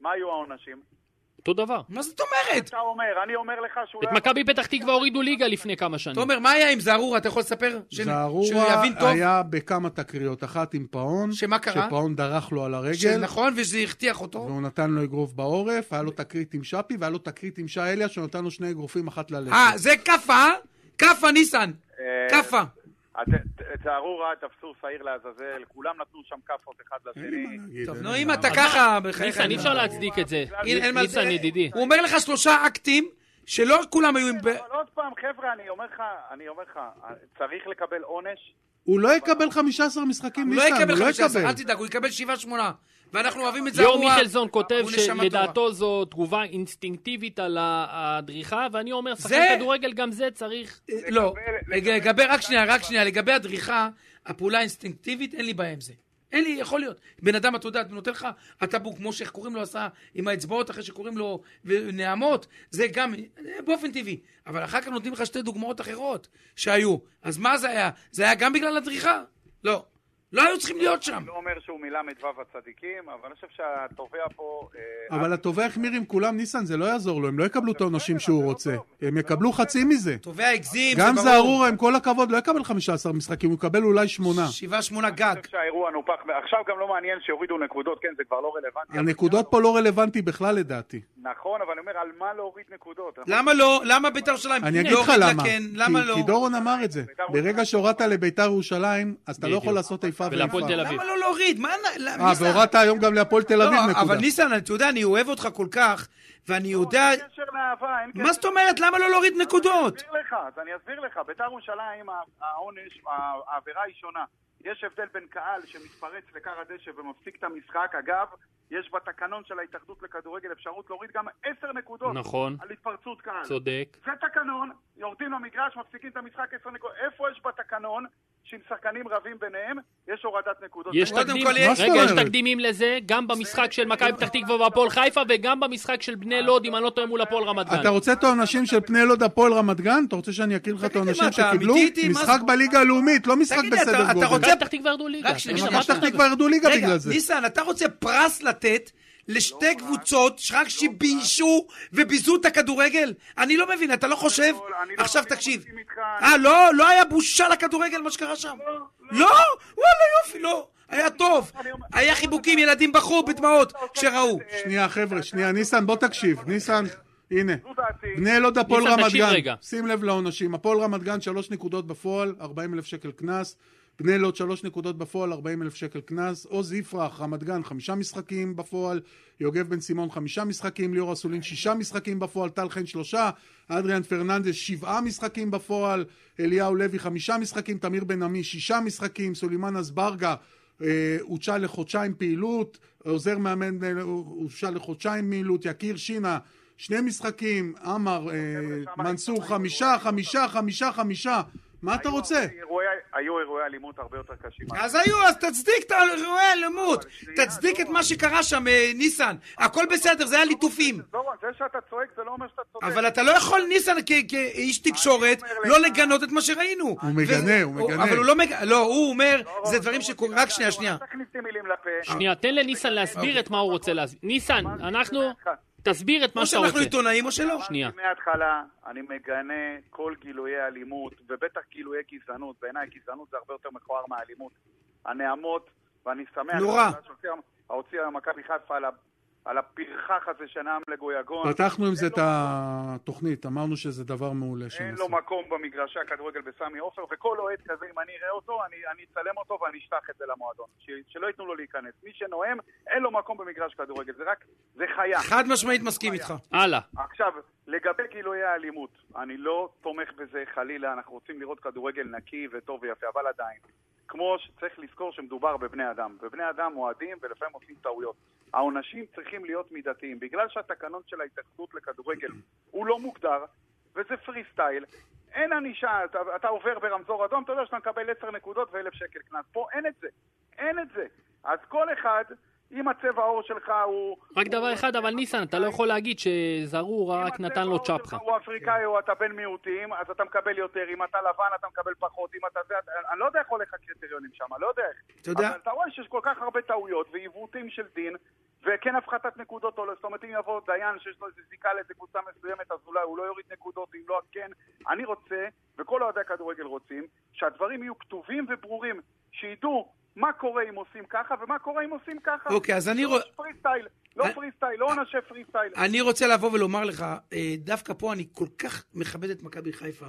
Speaker 4: מה היו העונשים?
Speaker 3: אותו דבר.
Speaker 2: מה זאת אומרת?
Speaker 4: אתה אומר, אני אומר לך שהוא
Speaker 3: את
Speaker 4: לא...
Speaker 3: מכבי פתח תקווה הורידו ליגה לפני כמה שנים.
Speaker 2: תומר, מה היה עם זערורה? אתה יכול לספר? ש- שהוא
Speaker 1: זערורה
Speaker 2: יבין טוב?
Speaker 1: היה בכמה תקריות, אחת עם פאון,
Speaker 2: שמה קרה?
Speaker 1: שפאון דרך לו על הרגל,
Speaker 2: שנכון, נכון, וזה הרתיח אותו.
Speaker 1: והוא נתן לו אגרוף בעורף, היה לו תקרית עם שפי, והיה לו תקרית עם שי אליה, שנתן לו שני אגרופים, אחת ללכת.
Speaker 2: אה, זה כאפה? אה? כאפה, ניסן.
Speaker 4: אה,
Speaker 2: כאפה.
Speaker 4: הת- ת- צערורה, תפסו שעיר לעזאזל, כולם נתנו שם כאפות אחד
Speaker 1: אין לי מה
Speaker 4: לשני.
Speaker 1: להגיד,
Speaker 3: אה,
Speaker 2: טוב, לא
Speaker 1: אין
Speaker 2: נו,
Speaker 1: לי
Speaker 2: אם
Speaker 1: מה
Speaker 2: אתה
Speaker 1: להגיד.
Speaker 2: ככה, בחייך.
Speaker 3: ניסן, אי אפשר להצדיק את זה.
Speaker 4: אין-
Speaker 2: אין מה-
Speaker 3: ניסן, ידידי.
Speaker 2: הוא אומר לך שלושה אקטים שלא כולם היו עם... ב-
Speaker 4: אבל עוד פעם, חבר'ה, אני אומר לך, אני אומר לך, צריך לקבל עונש.
Speaker 1: הוא לא יקבל 15 משחקים,
Speaker 2: הוא לא
Speaker 1: ניסן,
Speaker 2: יקבל
Speaker 1: הוא לא
Speaker 2: 15,
Speaker 1: יקבל.
Speaker 2: אל תדאג, הוא יקבל 7-8. ואנחנו אוהבים את זה.
Speaker 3: ליאור
Speaker 2: הוא ה-
Speaker 3: מיכלזון כותב
Speaker 2: הוא נשמה טובה.
Speaker 3: שלדעתו זו תגובה אינסטינקטיבית על ה- הדריכה, ואני אומר, שחקן
Speaker 2: זה-
Speaker 3: כדורגל גם זה צריך...
Speaker 2: אה, לא,
Speaker 4: לקבל-
Speaker 2: לגבי, רק שנייה, רק שנייה, לגבי הדריכה, הפעולה האינסטינקטיבית, אין לי בעיה עם זה. אין לי, יכול להיות. בן אדם, אתה יודע, אני נותן לך, הטאבו, כמו שאיך קוראים לו עשה עם האצבעות, אחרי שקוראים לו נעמות, זה גם אה, באופן טבעי. אבל אחר כך נותנים לך שתי דוגמאות אחרות שהיו. אז מה זה היה? זה היה גם בגלל הדריכה? לא. לא היו צריכים להיות שם.
Speaker 4: לא אומר שהוא מל"ו הצדיקים, אבל אני חושב שהתובע פה... אה,
Speaker 1: אבל התובע החמיר עם כולם, ניסן, זה לא יעזור לו, הם לא יקבלו את העונשים שהוא רוצה. הם יקבלו חצי מזה.
Speaker 2: תובע הגזים,
Speaker 1: גם
Speaker 2: ברור.
Speaker 1: זערורה, עם כל הכבוד, לא יקבל 15 משחקים, הוא יקבל אולי שמונה.
Speaker 2: שבעה, שמונה גג.
Speaker 4: חושב שהאירוע נופח, עכשיו גם לא מעניין שהורידו נקודות, כן, זה כבר לא רלוונטי.
Speaker 1: הנקודות פה לא רלוונטי בכלל לדעתי.
Speaker 4: נכון, אבל אני אומר, על מה להוריד נקודות?
Speaker 2: למה לא? למה בית"ר ירושלים?
Speaker 1: אני אגיד
Speaker 2: לא,
Speaker 1: לך למה.
Speaker 2: כן, למה
Speaker 1: כי-
Speaker 2: לא?
Speaker 1: כי דורון אמר את זה. ברגע שהורדת לביתר ירושלים, אז אתה לא
Speaker 3: בדיוק.
Speaker 1: יכול לעשות איפה ואיפה.
Speaker 3: ולהפועל תל אביב.
Speaker 2: למה לא להוריד? מה... למה-
Speaker 1: אה,
Speaker 2: ניסן?
Speaker 1: והורדת היום גם להפועל תל אביב
Speaker 2: לא, אבל
Speaker 1: נקודה.
Speaker 2: ניסן, אתה יודע, אני אוהב אותך כל כך, ואני
Speaker 4: לא,
Speaker 2: יודע...
Speaker 4: אין קשר לאהבה, אין קשר...
Speaker 2: מה זאת אומרת? למה לא להוריד
Speaker 4: אני
Speaker 2: נקודות?
Speaker 4: אסביר לך, אז אני אסביר לך. ביתר ירושלים, ה- העונש, ה- העבירה היא שונה. יש הבדל בין קהל שמתפרץ לכר הדשא ומפסיק את המשחק. אגב, יש בתקנון של ההתאחדות לכדורגל אפשרות להוריד גם עשר נקודות
Speaker 3: נכון,
Speaker 4: על התפרצות קהל.
Speaker 3: צודק.
Speaker 4: זה תקנון, יורדים למגרש, מפסיקים את המשחק עשר נקודות. איפה יש בתקנון שאם שחקנים רבים ביניהם, יש הורדת נקודות?
Speaker 3: יש
Speaker 2: קודם
Speaker 3: תקדים,
Speaker 2: כל יש-
Speaker 1: מה זאת
Speaker 3: רגע, יש
Speaker 1: אומרת?
Speaker 3: תקדימים לזה, גם במשחק של מכבי פתח תקווה והפועל חיפה, וגם במשחק של בני לוד, אם אני לא טועה, מול הפועל רמת גן.
Speaker 1: אתה רוצה את העונשים של פני לוד הפועל רמת גן? אתה רוצה שאני אקריא לך את
Speaker 2: תגיד לי,
Speaker 1: העונשים
Speaker 2: מה, אתה
Speaker 1: שקיבלו?
Speaker 2: אמיתי איתי? מה
Speaker 1: משחק
Speaker 2: זה?
Speaker 1: בליגה הלאומית, לא משחק
Speaker 2: תגיד לי, אתה-
Speaker 1: בסדר
Speaker 2: אתה
Speaker 1: גודל.
Speaker 2: רוצה-
Speaker 3: מכבי פח תקווה ירדו ליגה.
Speaker 2: רק שנייה,
Speaker 3: תגיד,
Speaker 2: שנייה,
Speaker 1: מכבי
Speaker 3: אמרת
Speaker 1: פתח
Speaker 3: את זה.
Speaker 1: תקווה ירדו ליגה
Speaker 2: רגע,
Speaker 1: בגלל זה.
Speaker 2: ניסן, אתה רוצה פרס לתת
Speaker 4: לא,
Speaker 2: לשתי קבוצות שרק שביישו וביזו את הכדורגל? אני לא מבין, אתה לא חושב?
Speaker 4: גדול, אני לא-
Speaker 2: עכשיו
Speaker 4: אני לא
Speaker 2: תקשיב.
Speaker 4: מסכים איתך,
Speaker 2: אה, לא? לא היה בושה לכדורגל מה שקרה שם? לא? וואלה, יופי, לא. היה טוב. היה חיבוקים, ילדים
Speaker 4: לא,
Speaker 2: בכו בדמעות כשראו.
Speaker 1: שנייה, חבר'ה, שנייה, ניסן, בוא תקשיב. ניסן, הנה.
Speaker 4: זו דעתי.
Speaker 1: בני לוד הפועל
Speaker 3: ניסן,
Speaker 1: רמת
Speaker 3: תקשיב
Speaker 1: גן,
Speaker 3: רגע.
Speaker 1: שים לב לעונשים, הפועל רמת גן שלוש נקודות בפועל, 40 אלף שקל קנס, בני לוד שלוש נקודות בפועל, 40 אלף שקל קנס, עוז יפרח, רמת גן חמישה משחקים בפועל, יוגב בן סימון חמישה משחקים, ליאור אסולין שישה משחקים בפועל, טל חן שלושה, אדריאן פרננדס שבעה משחקים בפועל, אליהו לוי חמישה משחקים, תמיר בן עמי שישה משחקים, סולימאן אזברגה אה, הוצא לחודשיים פעילות, עוזר מאמן בני לוד, הוצא לחודשיים פעילות, יקיר שינה שני משחקים, עמר, אה, מנסור, חמישה, חמישה, חמישה, חמישה. מה אתה רוצה?
Speaker 4: אירועי- היו אירועי אלימות הרבה יותר קשים.
Speaker 2: אז היו, אז תצדיק את אירועי האלימות. תצדיק את מה שקרה שם, אה, ניסן. הכל בסדר, זה היה ליטופים.
Speaker 4: דורון, זה שאתה צועק זה לא אומר שאתה צודק.
Speaker 2: אבל אתה לא יכול, ניסן, כ- כאיש תקשורת,
Speaker 4: אני אומר
Speaker 2: לא
Speaker 4: לך-
Speaker 2: לגנות את מה שראינו.
Speaker 1: הוא מגנה, הוא מגנה.
Speaker 2: אבל הוא לא מגנה, לא, הוא אומר,
Speaker 4: דורון,
Speaker 2: זה
Speaker 4: דורון,
Speaker 2: דברים שקורים,
Speaker 4: תירגע,
Speaker 2: רק שנייה,
Speaker 4: דורון,
Speaker 2: שנייה.
Speaker 4: אל תכניס לי לא מילים לפה.
Speaker 3: שנייה, תן לניסן להסביר את מה הוא רוצה להסביר. ניסן, אנחנו... תסביר את מה
Speaker 2: או
Speaker 3: שאתה רוצה.
Speaker 2: שאנחנו עיתונאים או שלא.
Speaker 3: שנייה.
Speaker 4: אמרתי מההתחלה, אני מגנה כל גילויי אלימות, ובטח גילויי גזענות. בעיניי גזענות זה הרבה יותר מכוער מהאלימות. הנעמות, ואני שמח...
Speaker 2: נורא.
Speaker 4: שהוציאה- הוציאה מכבי חיפה על ה- על הפרחח הזה שנאם לגויגון.
Speaker 1: פתחנו עם זה את התוכנית, אמרנו שזה דבר מעולה
Speaker 4: אין
Speaker 1: שהם
Speaker 4: לו
Speaker 1: עשו.
Speaker 4: מקום במגרשי הכדורגל בסמי עופר, וכל אוהד כזה, אם אני אראה אותו, אני, אני אצלם אותו ואני אשלח את זה למועדון. ש, שלא ייתנו לו להיכנס. מי שנואם, אין לו מקום במגרש כדורגל, זה רק, זה חיה.
Speaker 2: חד משמעית מסכים איתך.
Speaker 3: הלאה.
Speaker 4: עכשיו, לגבי גילויי האלימות, אני לא תומך בזה חלילה, אנחנו רוצים לראות כדורגל נקי וטוב ויפה, אבל עדיין. כמו שצריך לזכור שמדובר בבני אדם, ובני אדם אוהדים ולפעמים עושים טעויות. העונשים צריכים להיות מידתיים. בגלל שהתקנון של ההתאחדות לכדורגל הוא לא מוגדר, וזה פרי סטייל, אין ענישה, אתה, אתה עובר ברמזור אדום, אתה יודע שאתה מקבל 10 נקודות ו-1,000 שקל קנס. פה אין את זה. אין את זה. אז כל אחד אם הצבע העור שלך הוא...
Speaker 3: רק דבר אחד, אבל ניסן, אתה לא יכול להגיד שזרור רק נתן לו
Speaker 4: אם לא הצבע
Speaker 3: צ'פחה.
Speaker 4: העור שלך הוא אפריקאי או אתה בן מיעוטים, אז אתה מקבל יותר, אם אתה לבן אתה מקבל פחות, אם אתה זה, אתה- אני לא יודע איך הולך הקריטריונים שם, אני לא יודע איך.
Speaker 2: אתה יודע,
Speaker 4: אבל אתה רואה שיש כל כך הרבה טעויות ועיוותים של דין, וכן הפחתת נקודות או לא, זאת אומרת אם יבוא דיין שיש לו איזו זיקה לאיזו קבוצה מסוימת, אז אולי הוא לא יוריד נקודות, אם לא, אז כן. אני רוצה, וכל אוהדי הכדורגל רוצים, שהדברים יהיו כתובים וברורים, שידעו מה קורה אם עושים ככה ומה קורה אם עושים ככה.
Speaker 2: אוקיי, אז אני אה, רואה...
Speaker 4: פרי סטייל, לא
Speaker 2: אני-
Speaker 4: פרי סטייל, לא עונשי פרי סטייל.
Speaker 2: אני רוצה לבוא ולומר לך, אה, דווקא פה אני כל כך מכבד את מכבי חיפה,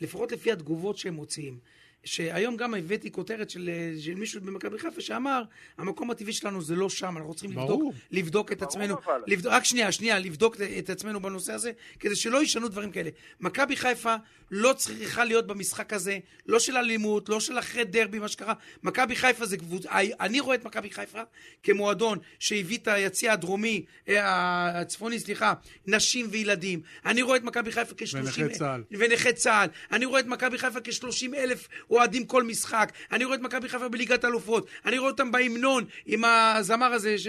Speaker 2: לפחות לפי התגובות שהם מוציאים. שהיום גם הבאתי כותרת של, אה, של מישהו במכבי חיפה שאמר, המקום הטבעי שלנו זה לא שם, אנחנו צריכים
Speaker 1: ברור.
Speaker 2: לבדוק, לבדוק את
Speaker 4: ברור
Speaker 2: עצמנו,
Speaker 4: אבל.
Speaker 2: לבדוק, רק שנייה, שנייה, לבדוק את עצמנו בנושא הזה, כדי שלא יישנו דברים כאלה. מכבי חיפה לא צריכה להיות במשחק הזה, לא של אלימות, לא של אחרי דרבי, מה שקרה. מכבי חיפה זה קבוצה, אני רואה את מכבי חיפה כמועדון שהביא את היציע הדרומי, אה, הצפוני, סליחה, נשים וילדים. אני רואה את מכבי חיפה כ-30...
Speaker 1: ונכי צה"ל.
Speaker 2: ונכי צה"ל. אני רואה את מכבי חיפה כ-30 אלף אוהדים כל משחק. אני רואה את מכבי חיפה בליגת אלופות. אני רואה אותם בהמנון עם הזמר הזה. ש...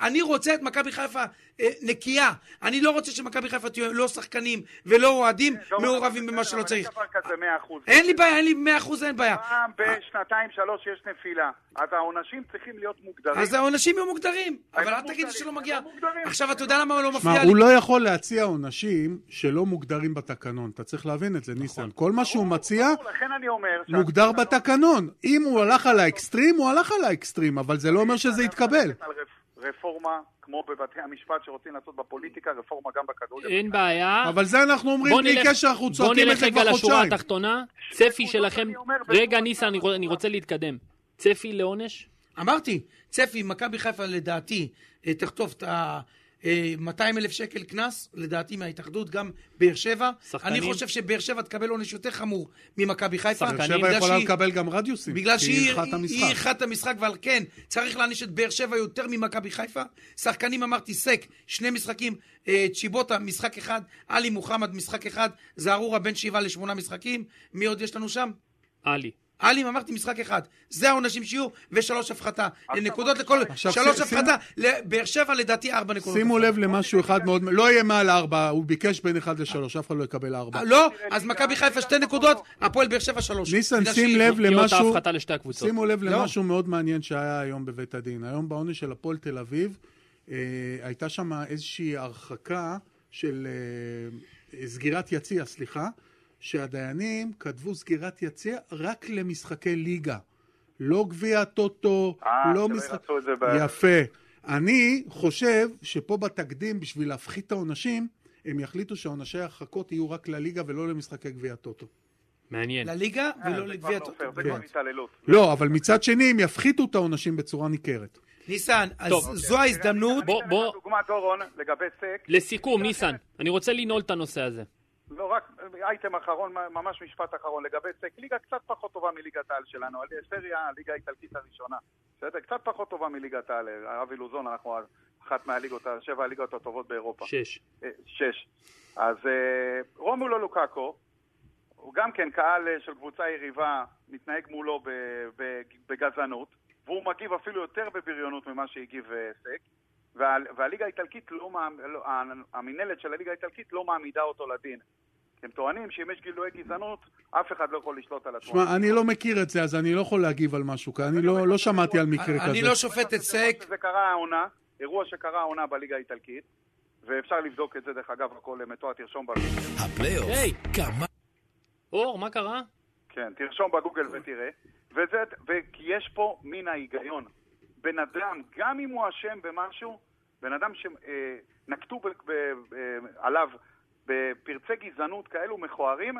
Speaker 2: אני רוצה את מכבי חיפה אה, נקייה. אני לא רוצה שמכבי חיפה תהיה לא שחקנים ולא אוהדים
Speaker 4: לא,
Speaker 2: מעורבים
Speaker 4: אבל
Speaker 2: במה
Speaker 4: בסדר,
Speaker 2: שלא
Speaker 4: אבל
Speaker 2: צריך. אה?
Speaker 4: אין דבר כזה מאה אחוז.
Speaker 2: אין לי בעיה, אין לי 100% אין בעיה.
Speaker 4: פעם בשנתיים שלוש יש נפילה, אז העונשים צריכים להיות מוגדרים.
Speaker 2: אז העונשים יהיו מוגדרים, אבל אל
Speaker 4: לא
Speaker 2: תגיד לי
Speaker 4: מוגדרים,
Speaker 2: שלא
Speaker 4: הם
Speaker 2: מגיע.
Speaker 4: לא מוגדרים.
Speaker 2: עכשיו, אתה יודע למה הוא לא
Speaker 1: שמע,
Speaker 2: מפריע לי?
Speaker 1: הוא לא יכול להציע עונשים שלא מוגדרים בתקנון. אתה צריך להבין את זה, ניסן. כל מה שהוא מציע
Speaker 4: נכון. ברור, לכן אני אומר... שה-
Speaker 1: מוגדר בתקנון. אם הוא הלך על האקסטרים, הוא הלך על האקסטרים, אבל זה לא אומר שזה יתקבל.
Speaker 4: על רפ- רפורמה, כמו בבתי המשפט שרוצים לעשות בפוליטיקה, רפורמה גם בכדורגל.
Speaker 2: אה,
Speaker 3: אין בעיה.
Speaker 1: אבל זה אנחנו אומרים
Speaker 3: בוא
Speaker 1: בלי
Speaker 3: נלך-
Speaker 1: קשר, אנחנו
Speaker 3: בוא
Speaker 1: צועקים את
Speaker 3: נלך
Speaker 1: זה
Speaker 3: רגע
Speaker 1: כבר
Speaker 3: לשורה
Speaker 1: חודשיים.
Speaker 3: התחתונה. צפי
Speaker 4: נקודות
Speaker 3: שלכם...
Speaker 4: אני אומר,
Speaker 3: רגע,
Speaker 4: ונקודות
Speaker 3: ניסן, אני
Speaker 4: אני אומר.
Speaker 3: אני רוצה להתקדם. צפי לעונש?
Speaker 2: אמרתי, צפי, מכבי חיפה לדעתי אה, תחטוף את ה... אה, 200 אלף שקל קנס, לדעתי מההתאחדות, גם באר שבע.
Speaker 3: שחקנים?
Speaker 2: אני חושב שבאר שבע תקבל עונש יותר חמור ממכבי חיפה.
Speaker 1: באר
Speaker 3: שחקנים,
Speaker 1: שבע
Speaker 2: בגלל
Speaker 1: יכולה
Speaker 2: שהיא-
Speaker 1: לקבל גם רדיוסים,
Speaker 2: בגלל
Speaker 1: כי היא
Speaker 2: שהיא
Speaker 1: אירחה את
Speaker 2: היא
Speaker 1: המשחק.
Speaker 2: אירחה את המשחק, ועל כן, צריך להעניש את באר שבע יותר ממכבי חיפה. שחקנים, אמרתי, סק, שני משחקים, אה, צ'יבוטה, משחק אחד, עלי מוחמד, משחק אחד, זערורה, בין שבעה לשמונה משחקים. מי עוד יש לנו שם?
Speaker 3: עלי.
Speaker 2: אלים, אמרתי משחק אחד. זה העונשים שיהיו, ושלוש הפחתה. נקודות לכל...
Speaker 1: עכשיו,
Speaker 2: שלוש
Speaker 1: שימו-
Speaker 2: הפחתה. לבאר שבע לדעתי ארבע נקודות.
Speaker 1: שימו לב למשהו אחד מאוד, לא יהיה מעל ארבע, הוא ביקש בין אחד לשלוש, אף אחד לא יקבל ארבע.
Speaker 2: אה, לא, אז מכבי חיפה שתי נקודות, הפועל באר שבע שלוש.
Speaker 1: ניסן,
Speaker 2: בגלל
Speaker 1: שים
Speaker 2: שהיא-
Speaker 1: לב
Speaker 3: תהיה אותה
Speaker 1: למשהו,
Speaker 3: הפחתה לשתי הקבוצות.
Speaker 1: שימו לב
Speaker 2: לא.
Speaker 1: למשהו מאוד מעניין שהיה היום בבית הדין. היום בעונש של הפועל תל אביב, אה, הייתה שם איזושהי הרחקה של אה, סגירת יציע, סליחה, שהדיינים כתבו סגירת יציע רק למשחקי ליגה. לא גביע טוטו,
Speaker 4: אה,
Speaker 1: לא
Speaker 4: שלא
Speaker 1: משחק...
Speaker 4: ירצו את זה ב-
Speaker 1: יפה. אני חושב שפה בתקדים, בשביל להפחית את העונשים, הם יחליטו שהעונשי ההרחקות יהיו רק לליגה ולא למשחקי גביע טוטו.
Speaker 3: מעניין.
Speaker 2: לא- לליגה
Speaker 4: אה,
Speaker 2: ולא
Speaker 4: זה
Speaker 2: לגביע
Speaker 4: כבר לא
Speaker 2: טוטו.
Speaker 4: פייר, זה
Speaker 1: כן.
Speaker 4: כבר התעללות.
Speaker 1: לא, אבל מצד שני, הם יפחיתו את העונשים בצורה ניכרת.
Speaker 2: ניסן, אז
Speaker 3: טוב.
Speaker 2: זו
Speaker 4: אוקיי,
Speaker 2: ההזדמנות.
Speaker 3: בוא-
Speaker 4: אני אתן
Speaker 3: בוא-
Speaker 4: לך דוגמה, דורון, לגבי סק.
Speaker 3: לסיכום, ניסן, אני רוצה לנעול את הנושא הזה.
Speaker 4: לא, רק אייטם אחרון, ממש משפט אחרון, לגבי סק. ליגה קצת פחות טובה מליגת העל שלנו, על- סריה, הליגה האיטלקית הראשונה. בסדר? קצת פחות טובה מליגת העל. אה, אבי לוזון, אנחנו אחת מהליגות, שבע הליגות הטובות באירופה.
Speaker 3: שש.
Speaker 4: אה, שש. אז אה, רומולו לוקאקו, הוא גם כן קהל אה, של קבוצה יריבה, מתנהג מולו ב- ב- בגזענות, והוא מגיב אפילו יותר בבריונות ממה שהגיב אה, סק, וה, והליגה האיטלקית לא, מעמ- לא המינהלת של הליגה האיטלקית לא מעמידה אותו לדין. הם טוענים שאם יש גילויי גזענות, אף אחד לא יכול לשלוט על התנועה.
Speaker 1: שמע, אני לא מכיר את זה, אז אני לא יכול להגיב על משהו כזה. אני לא לא שמעתי על מקרה
Speaker 2: אני
Speaker 1: כזה.
Speaker 2: לא שופט את סק.
Speaker 4: זה קרה העונה, אירוע שקרה העונה בליגה האיטלקית, ואפשר לבדוק את זה, דרך אגב, הכל אה, מתואר, תרשום בגוגל.
Speaker 5: הפלייאוף.
Speaker 3: היי.
Speaker 5: כמה...
Speaker 3: אור, מה קרה?
Speaker 4: כן, תרשום בגוגל ותראה. וזה, וכי יש פה מן ההיגיון. בן אדם, גם אם הוא אשם במשהו, בן אדם שנקטו ב, ב, ב, עליו בפרצי גזענות כאלו מכוערים,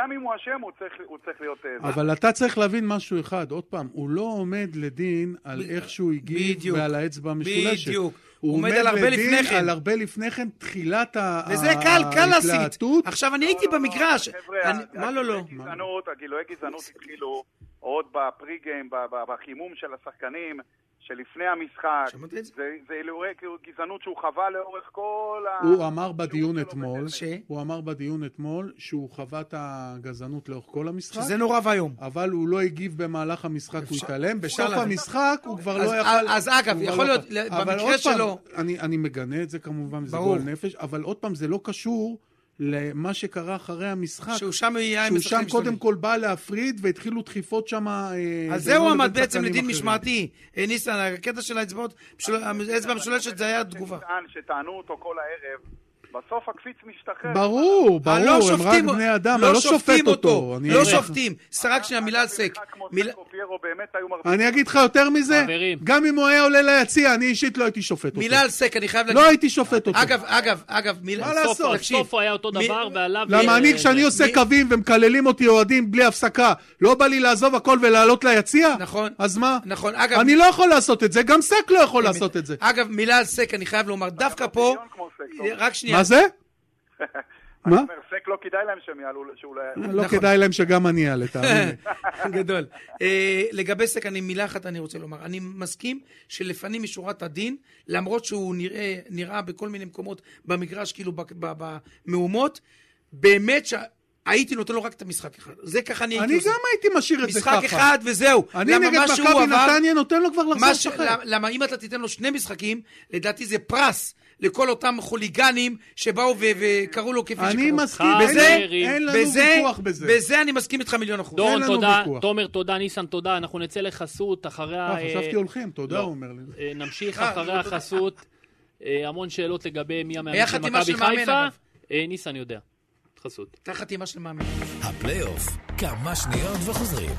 Speaker 4: גם אם הוא אשם, הוא צריך, הוא צריך להיות... אה,
Speaker 1: אבל אתה צריך להבין משהו אחד, עוד פעם, הוא לא עומד לדין על
Speaker 2: ב-
Speaker 1: איך שהוא הגיב
Speaker 2: בדיוק.
Speaker 1: ועל האצבע המשולשת.
Speaker 2: בדיוק.
Speaker 1: הוא עומד
Speaker 2: על הרבה
Speaker 1: לדין
Speaker 2: לפני כן.
Speaker 1: על הרבה לפני כן, תחילת ה-
Speaker 2: וזה קל, קל להסית.
Speaker 1: אה, ההתלהטות.
Speaker 2: עכשיו, אני
Speaker 4: לא,
Speaker 2: הייתי
Speaker 4: לא, לא,
Speaker 2: במגרש.
Speaker 4: חבר'ה, אה,
Speaker 2: אני- מה לא, לא?
Speaker 4: הגילויי גזענות, הגילויי גזענות התחילו עוד בפרי-גיים, ב- ב- בחימום של השחקנים, שלפני המשחק,
Speaker 2: שמעתי את זה?
Speaker 4: זה זה אירועי גזענות שהוא חווה לאורך כל ה...
Speaker 1: הוא אמר
Speaker 2: לא
Speaker 1: בדיון
Speaker 4: שלו
Speaker 1: אתמול,
Speaker 2: ש?
Speaker 1: הוא אמר בדיון אתמול שהוא חווה את הגזענות לאורך כל המשחק,
Speaker 2: שזה נורא ואיום.
Speaker 1: אבל הוא לא הגיב במהלך המשחק, הוא
Speaker 2: אפשר-
Speaker 1: התעלם.
Speaker 2: אפשר
Speaker 1: בסוף
Speaker 2: לדעת.
Speaker 1: המשחק הוא כבר
Speaker 2: אז-
Speaker 1: לא יכל...
Speaker 2: אז אגב,
Speaker 1: הוא כבר
Speaker 2: יכול
Speaker 1: לא
Speaker 2: להיות,
Speaker 1: יכול.
Speaker 2: ל-
Speaker 1: אבל
Speaker 2: במקרה
Speaker 1: עוד פעם,
Speaker 2: שלו-
Speaker 1: אני אני מגנה את זה כמובן, זה
Speaker 2: ברור.
Speaker 1: גועל נפש, אבל עוד פעם, זה לא קשור למה שקרה אחרי המשחק.
Speaker 2: שהוא שם יהיה עם
Speaker 1: שהוא שם
Speaker 2: משחקים
Speaker 1: קודם
Speaker 2: שלמים.
Speaker 1: כל בא להפריד, והתחילו דחיפות שם... אה,
Speaker 2: אז
Speaker 1: בינו
Speaker 2: זהו עמד
Speaker 1: לבין
Speaker 2: בעצם
Speaker 1: שחקנים
Speaker 2: לדין
Speaker 1: אחרים.
Speaker 2: משמעתי. אה, ניסן, הקטע של האצבעות, משול- האצבע המשולשת זה היה תגובה.
Speaker 4: שטען- שטענו אותו כל הערב, בסוף הקפיץ משתחרר.
Speaker 1: ברור, ברור,
Speaker 2: לא
Speaker 1: הם רק
Speaker 2: שופטים-
Speaker 1: בני אדם, אני לא שופט
Speaker 2: שופטים
Speaker 1: אותו. אני-
Speaker 2: לא שופטים. שרק שנייה, מילה על סק.
Speaker 4: אחד כמו
Speaker 2: מילה-
Speaker 4: סקו פיירו באמת היו מרוויחים.
Speaker 1: אני אגיד לך יותר מזה,
Speaker 3: חברים.
Speaker 1: גם אם הוא היה עולה ליציע, אני אישית לא הייתי שופט אותו.
Speaker 2: מילה על סק, אני חייב להגיד.
Speaker 1: לא הייתי שופט אותו.
Speaker 2: אגב, אגב, אגב, מילה...
Speaker 1: מה
Speaker 2: סוף,
Speaker 1: לעשות?
Speaker 2: תקשיב.
Speaker 3: סופו היה אותו
Speaker 2: מי-
Speaker 3: דבר, ועליו...
Speaker 1: למה
Speaker 3: אה,
Speaker 1: אני, כשאני עושה
Speaker 2: מי-
Speaker 1: קווים ומקללים אותי אוהדים בלי הפסקה, לא בא לי לעזוב הכל ולעלות ליציע?
Speaker 2: נכון.
Speaker 1: אז מה?
Speaker 2: נכון, אגב... אה,
Speaker 1: אני לא יכול לעשות את זה, גם סק לא יכול לעשות את זה.
Speaker 2: אגב, מילה על סק, אני חייב לומר, דווקא
Speaker 4: הוא
Speaker 2: פה...
Speaker 4: בריון כמו סק, לא?
Speaker 2: רק שנייה.
Speaker 1: מה זה?
Speaker 4: אני
Speaker 1: מה?
Speaker 4: אומר, סק לא כדאי להם שהם יעלו, שהוא לא יעלה.
Speaker 1: לא
Speaker 2: נכון.
Speaker 1: כדאי להם שגם אני אעלה, תאמין לי.
Speaker 2: גדול. אה, לגבי סק, אני מילה אחת אני רוצה לומר. אני מסכים שלפנים משורת הדין, למרות שהוא נראה, נראה בכל מיני מקומות במגרש, כאילו בק- ב- במהומות, באמת שהייתי נותן לו רק את המשחק אחד. זה ככה אני הייתי
Speaker 1: אני
Speaker 2: עושה.
Speaker 1: גם הייתי משאיר את זה
Speaker 2: משחק
Speaker 1: ככה.
Speaker 2: אחד וזהו.
Speaker 1: אני
Speaker 2: למה
Speaker 1: נגד
Speaker 2: מה שהוא
Speaker 1: מכבי
Speaker 2: עבר-
Speaker 1: נתניה נותן לו כבר לחזור
Speaker 2: מה ש...
Speaker 1: לשחק.
Speaker 2: למה- למה אם אתה תיתן לו שני משחקים, לדעתי זה פרס לכל אותם חוליגנים שבאו ו- וקראו לו כפי
Speaker 1: אני
Speaker 2: שקראו.
Speaker 1: מסכים,
Speaker 3: חברים.
Speaker 1: בזה אין לנו ויכוח בזה.
Speaker 2: בזה אני מסכים איתך מיליון אחוז.
Speaker 1: אין
Speaker 3: דורון,
Speaker 1: לנו
Speaker 3: תודה.
Speaker 1: ויכוח.
Speaker 3: תומר, תודה. ניסן, תודה. אנחנו נצא לחסות אחרי ה...
Speaker 1: אה, חשבתי הולכים, תודה,
Speaker 3: לא.
Speaker 1: הוא אומר לי.
Speaker 3: אה, נמשיך
Speaker 2: אה,
Speaker 3: אחרי
Speaker 2: לא תודה.
Speaker 3: החסות. אה, המון שאלות לגבי מי המאמן
Speaker 2: היה
Speaker 3: של
Speaker 2: חתימה
Speaker 3: מכבי
Speaker 2: של מאמן,
Speaker 3: חיפה.
Speaker 2: אגב.
Speaker 3: אה, ניסן יודע. חסות.
Speaker 2: אתה חתימה של מאמן.
Speaker 5: הפלייאוף, כמה שניות וחוזרים.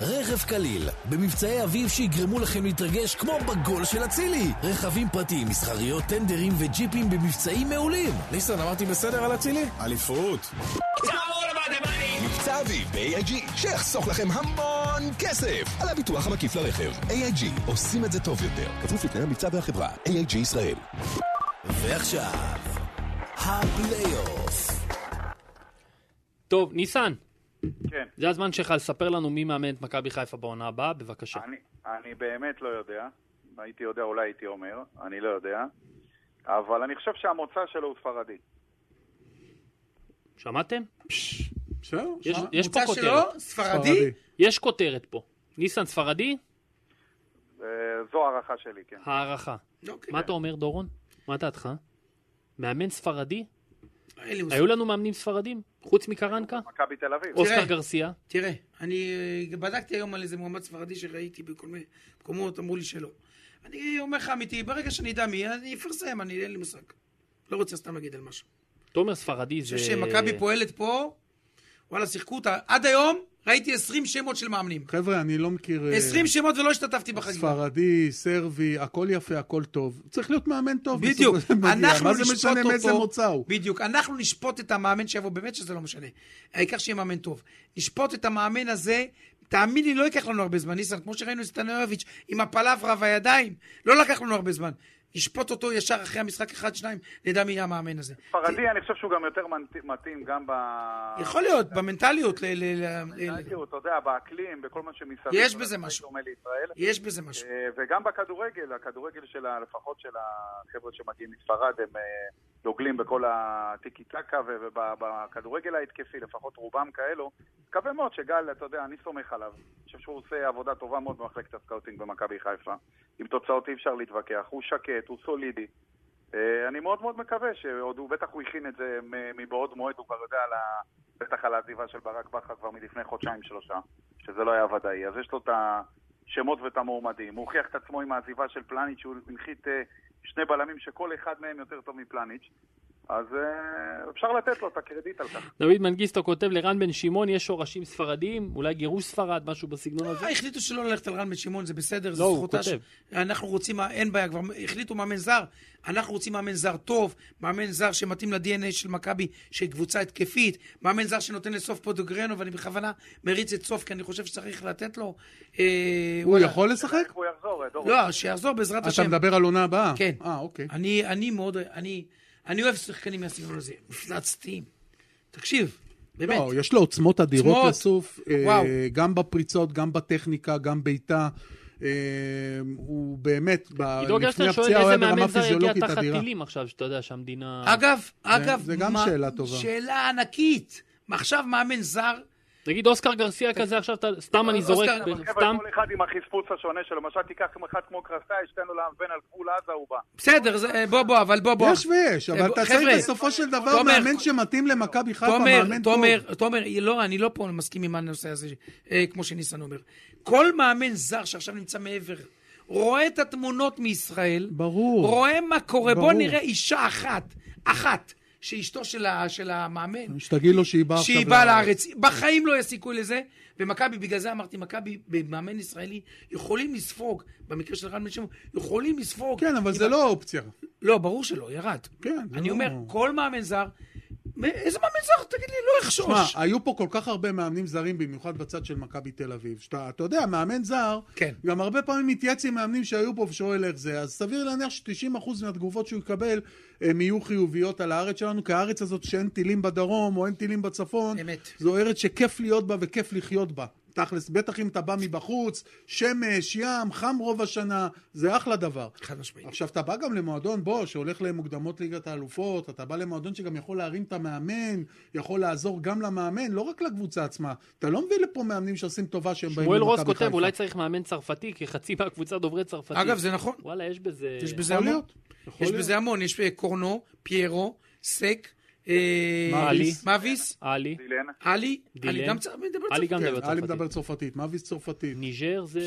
Speaker 5: רכב קליל, במבצעי אביב שיגרמו לכם להתרגש כמו בגול של אצילי. רכבים פרטיים, מסחריות, טנדרים וג'יפים במבצעים מעולים.
Speaker 6: ניסן, אמרתי בסדר על אצילי? אליפות.
Speaker 7: מבצע אביב ב-AIG, שיחסוך לכם המון כסף על הביטוח המקיף לרכב. AIG, עושים את זה טוב יותר. כפוף לתנאי המבצע והחברה. AIG ישראל.
Speaker 5: ועכשיו, הפלייאוף.
Speaker 3: טוב, ניסן,
Speaker 4: כן.
Speaker 3: זה הזמן שלך לספר לנו מי מאמן את מכבי חיפה בעונה הבאה, בבקשה.
Speaker 4: אני, אני באמת לא יודע. אם הייתי יודע, אולי הייתי אומר. אני לא יודע. אבל אני חושב שהמוצא שלו הוא ספרדי.
Speaker 3: שמעתם?
Speaker 1: בסדר, אה,
Speaker 3: יש-
Speaker 1: שמע.
Speaker 3: יש פה
Speaker 2: המוצא
Speaker 3: כותרת.
Speaker 2: שלו, ספרדי.
Speaker 3: יש כותרת פה. ניסן ספרדי,
Speaker 4: אה, זו הערכה שלי, כן.
Speaker 3: הערכה.
Speaker 2: אוקיי.
Speaker 3: מה אתה אומר, דורון? מה דעתך? מאמן ספרדי?
Speaker 2: אין לי מושג.
Speaker 3: היו לנו מאמנים ספרדים? חוץ מקרנקה?
Speaker 4: מכבי תל אביב.
Speaker 2: אוקיי.
Speaker 3: אוסקר גרסיה?
Speaker 2: תראה, אני אה, בדקתי היום על איזה מועמד ספרדי שראיתי בכל מיני מקומות, אמרו לי שלא. אני אומר לך אמיתי, ברגע שאני אדע מי, אני אפרסם, אני אין לי מושג. לא רוצה סתם להגיד על משהו.
Speaker 3: תומר ספרדי זה...
Speaker 2: אני חושב שמכבי פועלת פה, וואלה, שיחקו אותה. עד היום ראיתי 20 שמות של מאמנים.
Speaker 1: חבר'ה, אני לא מכיר... אה,
Speaker 2: 20 שמות ולא השתתפתי בחגיגה.
Speaker 1: ספרדי, סרבי, הכל יפה, הכל טוב. צריך להיות מאמן טוב.
Speaker 2: בדיוק.
Speaker 1: בסופו של דבר.
Speaker 2: אנחנו
Speaker 1: מה זה
Speaker 2: נשפוט
Speaker 1: משנה מאיזה
Speaker 2: אותו-
Speaker 1: מוצא הוא?
Speaker 2: בדיוק. אנחנו נשפוט את המאמן שיבוא, באמת שזה לא משנה. העיקר שיהיה מאמן טוב. נשפוט את המאמן הזה, תאמין לי, לא ייקח לנו הרבה זמן, ניסן, כמו שראינו את סטנויוביץ' עם הפלברה והידיים, לא לקח לנו הרבה זמן. נשפוט אותו ישר אחרי המשחק אחד, שניים, נדע מי יהיה המאמן הזה.
Speaker 4: ספרדי, אני חושב שהוא גם יותר מנת- מתאים גם ב...
Speaker 2: יכול להיות, במנטליות, ל- ל- ל- ל-
Speaker 4: הייתי, אתה יודע, באקלים, בכל מה שמסביב.
Speaker 2: יש בזה
Speaker 4: אבל
Speaker 2: משהו.
Speaker 4: דומה לישראל.
Speaker 2: יש בזה משהו.
Speaker 4: אה, וגם בכדורגל, הכדורגל של ה... לפחות של החבר'ה שמגיעים מספרד, הם אה, דוגלים בכל הטיקי טקה ובכדורגל ההתקפי, לפחות רובם כאלו. מקווה מאוד שגל, אתה יודע, אני סומך עליו. אני חושב שהוא עושה עבודה טובה מאוד במחלקת הסקאוטינג במכבי חיפה. עם תוצאות אי אפשר להתווכח, הוא שקט, הוא סולידי. אה, אני מאוד מאוד מקווה שעוד הוא, בטח הוא הכין את זה מ- מבעוד מועד, הוא כבר יודע על ה... בטח על העזיבה של ברק בכר כבר מלפני חודשיים-שלושה, שזה לא היה ודאי. אז יש לו את השמות ואת המועמדים. הוא הוכיח את עצמו עם העזיבה של פלניץ', שהוא הנחית אה, שני בלמים שכל אחד מהם יותר טוב מפלניץ'. אז אה, אפשר לתת לו את הקרדיט על כך.
Speaker 3: דוד מנגיסטו כותב לרן בן שמעון, יש שורשים ספרדיים, אולי גירוש ספרד, משהו בסגנון הזה.
Speaker 2: אה, החליטו שלא ללכת על רן בן שמעון, זה בסדר, זו
Speaker 3: לא, הוא
Speaker 2: זכותה
Speaker 3: כותב.
Speaker 2: אנחנו רוצים, אין בעיה, כבר החליטו מאמן זר. אנחנו רוצים מאמן זר טוב, מאמן זר שמתאים ל-DNA של מכבי, שהיא קבוצה התקפית, מאמן זר שנותן לסוף פודוגרנו, ואני בכוונה מריץ את סוף, כי אני חושב שצריך לתת לו... אה,
Speaker 1: הוא
Speaker 2: וואלה.
Speaker 1: יכול לשחק?
Speaker 4: איך הוא יחזור, אה, דורון?
Speaker 2: לא, שיחזור בעזרת השם.
Speaker 1: אה, אתה מדבר על עונה הבאה?
Speaker 2: כן.
Speaker 1: אה, אוקיי.
Speaker 2: אני, אני מאוד, אני, אני אוהב שחקנים מהסגנון הזה, מפלצתיים. תקשיב, באמת.
Speaker 1: לא, יש לו עוצמות אדירות
Speaker 2: עוצמות.
Speaker 1: לסוף, אה,
Speaker 2: וואו.
Speaker 1: גם בפריצות, גם בטכניקה, גם בעיטה. אה, הוא באמת, ב-
Speaker 3: עידו
Speaker 1: לפני
Speaker 3: גרשטיין שואל
Speaker 1: הפציעה הוא
Speaker 3: איזה
Speaker 1: היה ברמה
Speaker 3: מאמן
Speaker 2: לא
Speaker 3: זר יגיע
Speaker 1: פיזיולוגית
Speaker 3: תחת
Speaker 1: אדירה.
Speaker 3: טילים עכשיו, שאתה יודע שהמדינה...
Speaker 2: אגב, אגב,
Speaker 1: זה גם
Speaker 2: מה-
Speaker 1: שאלה טובה.
Speaker 2: שאלה ענקית. עכשיו מאמן זר,
Speaker 3: נגיד אוסקר גרסיה כזה עכשיו, אתה- סתם אני
Speaker 2: אוסקר,
Speaker 3: זורק,
Speaker 2: אבל
Speaker 3: ב-
Speaker 4: חבר'ה,
Speaker 3: סתם.
Speaker 4: כל אחד עם החספוס השונה שלו. למשל, תיקח אחד כמו קרסאי, שתן לו לאבן על גבול עזה, הוא בא.
Speaker 2: בסדר, זה- אה, בוא בוא, אבל בוא בוא.
Speaker 1: יש ויש, אבל
Speaker 2: אה,
Speaker 1: אתה
Speaker 2: חבר'ה,
Speaker 1: צריך בסופו של דבר
Speaker 2: תומר,
Speaker 1: מאמן שמתאים למכבי חיפה,
Speaker 2: תומר,
Speaker 1: מאמן טוב.
Speaker 2: תומר, תומר, לא, אני לא פה מסכים עם הנושא הזה, אה, כמו שניסן אומר. כל מאמן זר שעכשיו נמצא מעבר, רואה את התמונות מישראל,
Speaker 1: ברור.
Speaker 2: רואה מה קורה,
Speaker 1: ברור.
Speaker 2: בוא נראה אישה אחת, אחת, שאשתו של ה- של המאמן,
Speaker 1: שתגיד לו שהיא באה
Speaker 2: שהיא באה לארץ. בחיים לא יהיה סיכוי לזה. ומכבי, בגלל זה אמרתי, מכבי במאמן ישראלי יכולים לספוג, במקרה של רן בן שמעון, יכולים לספוג.
Speaker 1: כן, אבל
Speaker 2: עם
Speaker 1: זה
Speaker 2: ה-
Speaker 1: לא אופציה.
Speaker 2: לא, ברור שלא, ירד.
Speaker 1: כן, זה
Speaker 2: אני
Speaker 1: לא-
Speaker 2: אומר, כל מאמן זר, מ- איזה מאמן זר, תגיד לי, לא
Speaker 1: תשמע,
Speaker 2: יחשוש.
Speaker 1: היו פה כל כך הרבה מאמנים זרים, במיוחד בצד של מכבי תל אביב. שאתה, אתה יודע, מאמן זר,
Speaker 2: כן.
Speaker 1: גם הרבה פעמים מתייעץ עם מאמנים שהיו פה ושואל איך זה, אז סביר להניח ש-90% מהתגובות שהוא יקבל, הם יהיו חיוביות על הארץ שלנו, כי הארץ הזאת שאין טילים בדרום או אין טילים בצפון,
Speaker 2: אמת.
Speaker 1: זו ארץ שכיף להיות בה וכיף לחיות בה. תכלס, בטח אם אתה בא מבחוץ, שמש, ים, חם רוב השנה, זה אחלה דבר.
Speaker 2: חד משמעית.
Speaker 1: עכשיו, אתה בא גם למועדון, בוא, שהולך למוקדמות ליגת האלופות, אתה בא למועדון שגם יכול להרים את המאמן, יכול לעזור גם למאמן, לא רק לקבוצה עצמה. אתה לא מביא לפה מאמנים שעושים טובה שהם באים
Speaker 3: שמואל
Speaker 1: למכבי
Speaker 3: רוס
Speaker 1: חיפה.
Speaker 3: כותב, אולי צריך מאמן צרפתי, כי חצי מהקבוצה דוברי צרפתית.
Speaker 2: אגב, זה נכון.
Speaker 3: וואלה, יש בזה...
Speaker 2: יש בזה
Speaker 1: יכול
Speaker 2: המון.
Speaker 1: להיות. יכול
Speaker 2: יש
Speaker 1: להיות.
Speaker 2: בזה המון. יש אה, קורנו, פיירו, סק, אה,
Speaker 1: מאביס.
Speaker 2: מאביס,
Speaker 3: עלי,
Speaker 4: אילן,
Speaker 2: עלי.
Speaker 3: דילן.
Speaker 2: עלי גם צריך מדבר
Speaker 3: עלי
Speaker 2: צרפתית.
Speaker 3: גם
Speaker 1: כן,
Speaker 3: מדבר
Speaker 1: אלי
Speaker 3: צרפתית.
Speaker 1: מדבר צרפתית, מאביס צרפתית.
Speaker 3: ניג'ר זה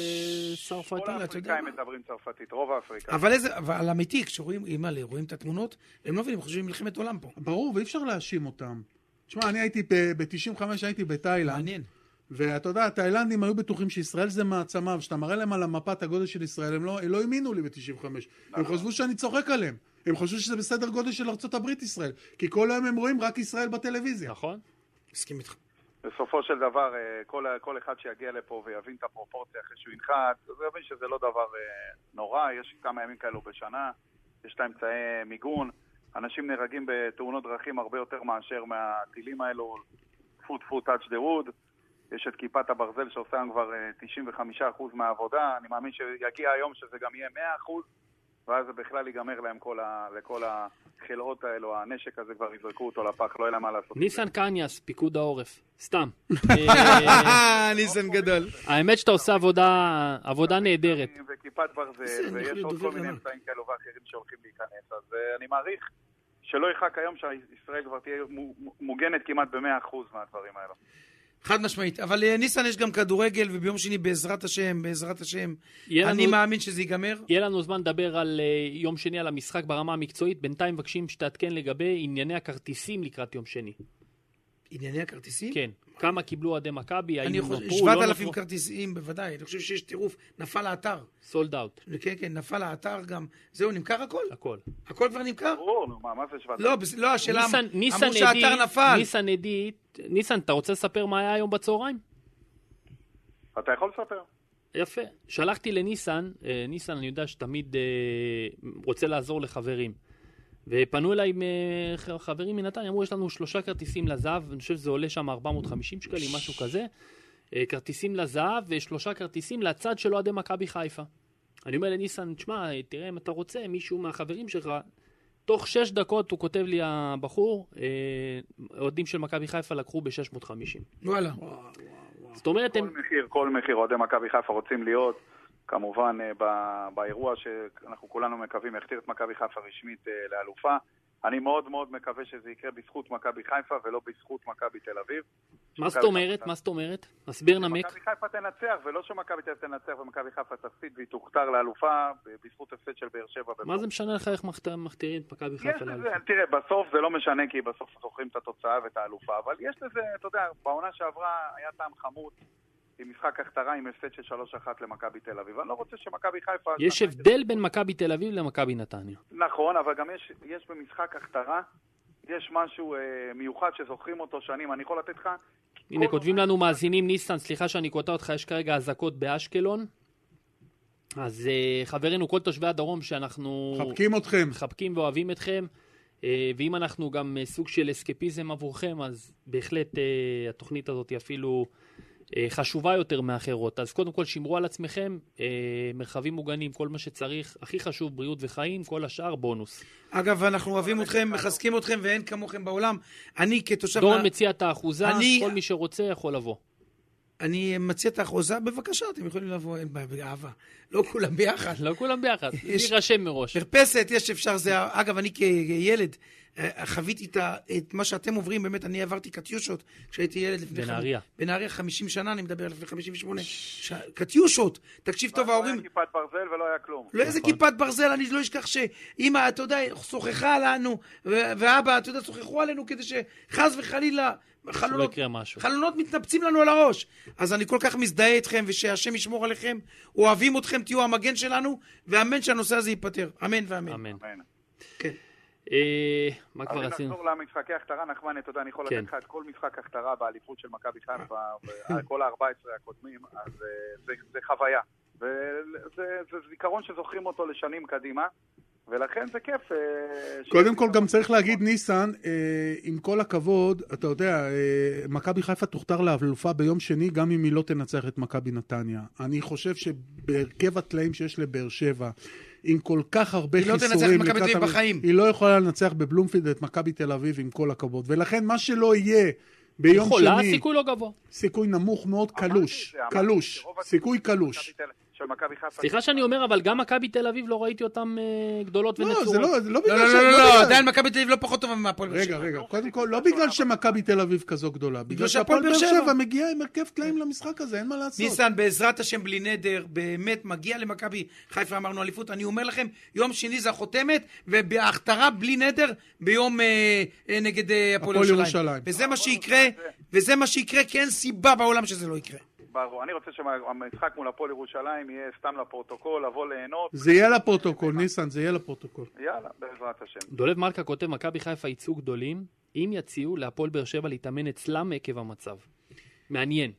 Speaker 3: צרפתי.
Speaker 4: כל האפריקאים מדברים צרפתית, רוב האפריקאים.
Speaker 2: אבל איזה, אבל אמיתי, כשרואים, אימא'לה, רואים את התמונות, הם לא מבינים, הם חושבים מלחמת עולם פה.
Speaker 1: ברור, ואי אפשר להאשים אותם. תשמע, אני הייתי, ב-95 הייתי בתאילנד,
Speaker 2: מעניין.
Speaker 1: ואתה יודע, התאילנדים היו בטוחים שישראל זה מעצמה, וכשאתה מראה להם על המפה את הגודל של ישראל, הם לא, הם לא האמינו לי ב-95. הם חשבו שאני צוחק עליהם. הם חשבו שזה בסדר גודל של ארצות הברית ישראל, כי כל היום הם רואים רק ישראל בטלוויזיה.
Speaker 3: נכון?
Speaker 2: מסכים איתך.
Speaker 4: בסופו של דבר, אה, כל, ה- כל אחד שיגיע לפה ויבין את הפרופורציה אחרי שהוא ינחת, אז הוא יבין שזה לא דבר אה, נורא, יש כמה ימים כאלו בשנה, יש את האמצעי מיגון, אנשים נהרגים בתאונות דרכים הרבה יותר מאשר מהטילים האלו, טפו טפו טאץ' דה ווד, יש את כיפת הברזל שעושה היום כבר אה, 95% מהעבודה, אני מאמין שיגיע היום שזה גם יהיה 100%, ואז זה בכלל ייגמר להם כל, ה, לכל החלאות האלו, הנשק הזה כבר יזרקו אותו לפח, לא יהיה להם מה לעשות.
Speaker 3: ניסן קניאס, פיקוד העורף. סתם. אה,
Speaker 2: ניסן גדול.
Speaker 3: האמת שאתה עושה עבודה- עבודה נהדרת.
Speaker 4: וכיפת ברזל,
Speaker 2: בסדר, יכול
Speaker 4: ויש
Speaker 2: להיות
Speaker 4: עוד
Speaker 2: דובר
Speaker 4: כל מיני
Speaker 2: ענק.
Speaker 4: אמצעים כאלו ואחרים שהולכים להיכנס, אז אה, אני מעריך שלא ירחק היום שישראל כבר תהיה מו- מו- מוגנת כמעט ב-100% מהדברים האלו.
Speaker 2: חד משמעית. אבל אה, ניסן, יש גם כדורגל, וביום שני, בעזרת השם, בעזרת השם,
Speaker 3: יהיה
Speaker 2: אני
Speaker 3: לנו-
Speaker 2: מאמין שזה ייגמר.
Speaker 3: יהיה לנו זמן לדבר על אה, יום שני על המשחק ברמה המקצועית. בינתיים מבקשים שתעדכן לגבי ענייני הכרטיסים לקראת יום שני.
Speaker 2: ענייני הכרטיסים?
Speaker 3: כן. כמה קיבלו אוהדי מכבי, האם
Speaker 2: אני
Speaker 3: נותרו,
Speaker 2: חושב,
Speaker 3: לא
Speaker 2: 7,000
Speaker 3: נותרו,
Speaker 2: כרטיסים, בוודאי. אני חושב שיש טירוף. נפל האתר.
Speaker 3: סולד אאוט,
Speaker 2: כן, כן, נפל האתר גם. זהו, נמכר הכל?
Speaker 3: הכל.
Speaker 2: הכל כבר
Speaker 3: לא.
Speaker 2: נמכר?
Speaker 4: ברור, נו, מה, מה זה שבעת?
Speaker 2: לא, בס- לא, השאלה,
Speaker 3: ניסן, ניסן
Speaker 2: אמרו שהאתר
Speaker 3: עדי-
Speaker 2: נפל.
Speaker 3: ניסן עדי, ניסן, אתה רוצה לספר מה היה היום בצהריים?
Speaker 4: אתה יכול לספר?
Speaker 3: יפה. שלחתי לניסן, אה, ניסן, אני יודע שתמיד אה, רוצה לעזור לחברים. ופנו אליי אה, ח- חברים מנתניה, אמרו, יש לנו שלושה כרטיסים לזהב, אני חושב שזה עולה שם 450 שקלים, משהו כזה. אה, כרטיסים לזהב ושלושה כרטיסים לצד של אוהדי מכבי חיפה. אני אומר לניסן, תשמע, תראה אם אתה רוצה, מישהו מהחברים שלך, תוך שש דקות הוא כותב לי הבחור, אה, אוהדים של מכבי חיפה לקחו ב-650.
Speaker 2: וואלה.
Speaker 3: זאת אומרת,
Speaker 4: כל
Speaker 3: הם...
Speaker 4: מחיר, כל מחיר, אוהדי מכבי חיפה רוצים להיות, כמובן, אה, ב- באירוע שאנחנו כולנו מקווים יכתיר את מכבי חיפה רשמית אה, לאלופה. אני מאוד מאוד מקווה שזה יקרה בזכות מכבי חיפה ולא בזכות מכבי תל אביב.
Speaker 3: מה זאת אומרת? מה זאת אומרת? הסביר נמק.
Speaker 4: מכבי חיפה תנצח, ולא שמכבי תל אביב תנצח ומכבי חיפה תפסיד והיא תוכתר לאלופה ב- בזכות הפסד של באר שבע.
Speaker 3: מה
Speaker 4: בבלומפילד.
Speaker 3: זה משנה לך איך מכת- מכתירים את מכבי
Speaker 4: יש
Speaker 3: חיפה
Speaker 4: לזה,
Speaker 3: לאליפות?
Speaker 4: תראה, בסוף זה לא משנה כי בסוף זוכרים את התוצאה ואת האלופה, אבל יש לזה, אתה יודע, בעונה שעברה היה טעם חמוד עם משחק הכתרה עם הפסד של 3-1 למכבי תל אביב. אני לא רוצה שמכבי חיפה...
Speaker 3: יש הבדל בין מכבי תל אביב למכבי נתניה.
Speaker 4: נכון, אבל גם יש, יש במשחק הכתרה, יש משהו אה, מיוחד שזוכרים אותו שנים. אני יכול לתת לך...
Speaker 3: הנה, כותבים לנו מאזינים, ניסן, סליחה שאני קוטע אותך, יש כרגע אזעקות באשקלון. אז אה, חברינו, כל תושבי הדרום שאנחנו...
Speaker 1: מחבקים אתכם.
Speaker 3: מחבקים ואוהבים אתכם. אה, ואם אנחנו גם אה, סוג של אסקפיזם עבורכם, אז בהחלט אה, התוכנית הזאת היא אפילו אה, חשובה יותר מאחרות. אז קודם כל שמרו על עצמכם, אה, מרחבים מוגנים, כל מה שצריך, הכי חשוב, בריאות וחיים, כל השאר בונוס.
Speaker 2: אגב, אנחנו אוהבים אתכם, מחזקים אתכם, ואין כמוכם בעולם. אני כתושב...
Speaker 3: לא. דורון
Speaker 2: נ-
Speaker 3: מציע את האחוזה,
Speaker 2: אני-
Speaker 3: כל מי שרוצה יכול לבוא.
Speaker 2: אני מציע את האחוזה, בבקשה, אתם יכולים לבוא, אין בעיה, באהבה. לא כולם ביחד.
Speaker 3: לא כולם ביחד,
Speaker 2: יש-
Speaker 3: להירשם מראש.
Speaker 2: מרפסת, יש אפשר, זה... אגב, אני כילד אה, חוויתי את, ה... את מה שאתם עוברים, באמת, אני עברתי קטיושות כשהייתי ילד לפני...
Speaker 3: בנהריה.
Speaker 2: חמ- בנהריה 50 שנה, אני מדבר לפני 58. ש... קטיושות, תקשיב טוב,
Speaker 4: לא
Speaker 2: ההורים...
Speaker 4: היה כיפת ברזל ולא היה כלום.
Speaker 2: לא איזה
Speaker 3: נכון.
Speaker 2: כיפת ברזל, אני לא אשכח שאימא, אתה יודע, שוחחה עלינו, ו- ואבא, אתה יודע, שוחחו עלינו כדי שחס וחלילה,
Speaker 3: שלא
Speaker 2: חלונות,
Speaker 3: לא יקרה משהו.
Speaker 2: חלונות מתנפצים לנו על הראש. אז אני כל כך מזדהה איתכם, ושהשם ישמור עליכם, אוהבים אתכם, תהיו המגן שלנו, ואמן שהנושא הזה ייפתר. אמן ואמן.
Speaker 3: אמן.
Speaker 4: אמן.
Speaker 2: כן.
Speaker 3: אה, מה
Speaker 4: אז
Speaker 3: כבר
Speaker 4: אם
Speaker 3: עשינו?
Speaker 4: נחזור למשחקי הכתרה, נחמן, אתה יודע, אני יכול
Speaker 3: כן.
Speaker 4: לתת לך את כל משחק הכתרה באליפות של מכבי חיפה, ו- כל ה-14 הקודמים, אז אה, זה, זה חוויה. וזה זה זיכרון שזוכרים אותו לשנים קדימה, ולכן זה כיף. אה, ש-
Speaker 1: קודם כל גם צריך להגיד, ניסן, אה, עם כל הכבוד, אתה יודע, אה, מכבי חיפה תוכתר לאלופה ביום שני, גם אם היא לא תנצח את מכבי נתניה. אני חושב שבהרכב הטלאים שיש לבאר שבע, עם כל כך הרבה
Speaker 2: היא לא תנצח את
Speaker 1: חיסורים...
Speaker 2: מכבי תל אביב
Speaker 1: לקראת המ-
Speaker 2: בחיים.
Speaker 1: היא לא יכולה לנצח בבלומפילד את מכבי תל אביב, עם כל הכבוד. ולכן מה שלא יהיה ביום
Speaker 3: חולה,
Speaker 1: שני,
Speaker 3: סיכוי לא גבוה.
Speaker 1: סיכוי נמוך מאוד,
Speaker 4: אמרתי את
Speaker 1: קלוש.
Speaker 4: זה, אמרתי
Speaker 1: קלוש.
Speaker 4: שרוב הסיכויים
Speaker 1: סיכוי קלוש.
Speaker 4: של מכבי תל- של מכבי חיפה.
Speaker 3: סליחה שאני אומר, אבל גם מכבי תל אביב לא ראיתי אותן אה, גדולות
Speaker 1: לא, זה
Speaker 3: ונצורות.
Speaker 1: לא, זה לא
Speaker 2: לא,
Speaker 1: בגלל
Speaker 2: לא,
Speaker 1: ש-
Speaker 2: לא,
Speaker 1: לא
Speaker 2: לא, לא,
Speaker 1: בגלל-
Speaker 2: עדיין מכבי תל אביב לא פחות טובה מהפועל באר
Speaker 1: רגע,
Speaker 2: שבע.
Speaker 1: רגע, קודם כל, לא בגלל שמכבי תל אביב כזו גדולה, בגלל שהפועל באר שבע מגיעה עם הרכב טלאים למשחק הזה, אין מה לעשות.
Speaker 2: ניסן, בעזרת השם, בלי נדר, באמת מגיע למכבי חיפה, אמרנו אליפות. אני אומר לכם, יום שני זה החותמת, ובהכתרה בלי נדר ביום אה, אה, נגד אה, הפועל
Speaker 1: הפועל
Speaker 2: ירושלים.
Speaker 1: ירושלים.
Speaker 2: וזה מה שיקרה, וזה מה שיקרה, כי אין סיבה בעולם שזה לא יקרה.
Speaker 3: אה.
Speaker 4: ברור, אני רוצה שהמשחק מול הפועל ירושלים יהיה סתם לפרוטוקול, לבוא ליהנות,
Speaker 1: זה יהיה לפרוטוקול, ניסן, זה יהיה לפרוטוקול.
Speaker 4: יאללה, בעזרת השם.
Speaker 3: דולב מלכה כותב, מכבי חיפה יצאו גדולים, אם יציעו להפועל באר שבע להתאמן אצלם עקב המצב. מעניין.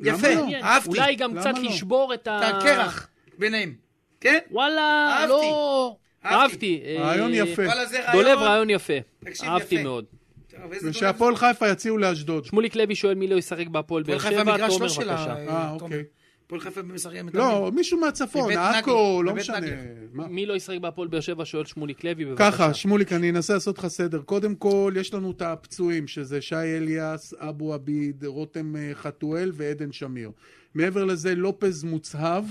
Speaker 1: למה
Speaker 2: יפה,
Speaker 1: לא?
Speaker 2: אהבתי.
Speaker 3: אולי גם
Speaker 1: למה
Speaker 3: קצת
Speaker 1: לא?
Speaker 3: לשבור את ה...
Speaker 2: את הקרח ביניהם. כן?
Speaker 3: וואלה,
Speaker 2: אהבתי.
Speaker 3: לא...
Speaker 2: אהבתי.
Speaker 3: אהבתי. אה,
Speaker 1: רעיון יפה.
Speaker 2: וואלה, זה רעיון. אה,
Speaker 3: דולב רעיון יפה.
Speaker 2: תקשיב, יפה.
Speaker 3: אהבתי מאוד.
Speaker 2: טוב, איזה דולב.
Speaker 1: ושהפועל חיפה יציעו לאשדוד.
Speaker 3: שמוליק לוי שואל מי לא ישחק בהפועל באר
Speaker 2: הפועל
Speaker 3: שבע,
Speaker 2: חיפה המגרש
Speaker 3: תומר
Speaker 2: לא שלה.
Speaker 3: בבקשה.
Speaker 1: אה,
Speaker 2: תומר.
Speaker 1: אוקיי.
Speaker 2: הפועל חיפה במסריה
Speaker 1: לא, מישהו מהצפון,
Speaker 2: בבית
Speaker 1: עכו,
Speaker 2: נגר,
Speaker 1: לא
Speaker 2: בבית
Speaker 1: משנה.
Speaker 2: נגר.
Speaker 1: מה?
Speaker 3: מי לא ישחק בהפועל באר שבע שואל שמוליק לוי בבקשה.
Speaker 1: ככה, שמוליק, אני אנסה לעשות לך סדר. קודם כל, יש לנו את הפצועים, שזה שי אליאס, אבו עביד, רותם אה, חתואל ועדן שמיר. מעבר לזה, לופז מוצהב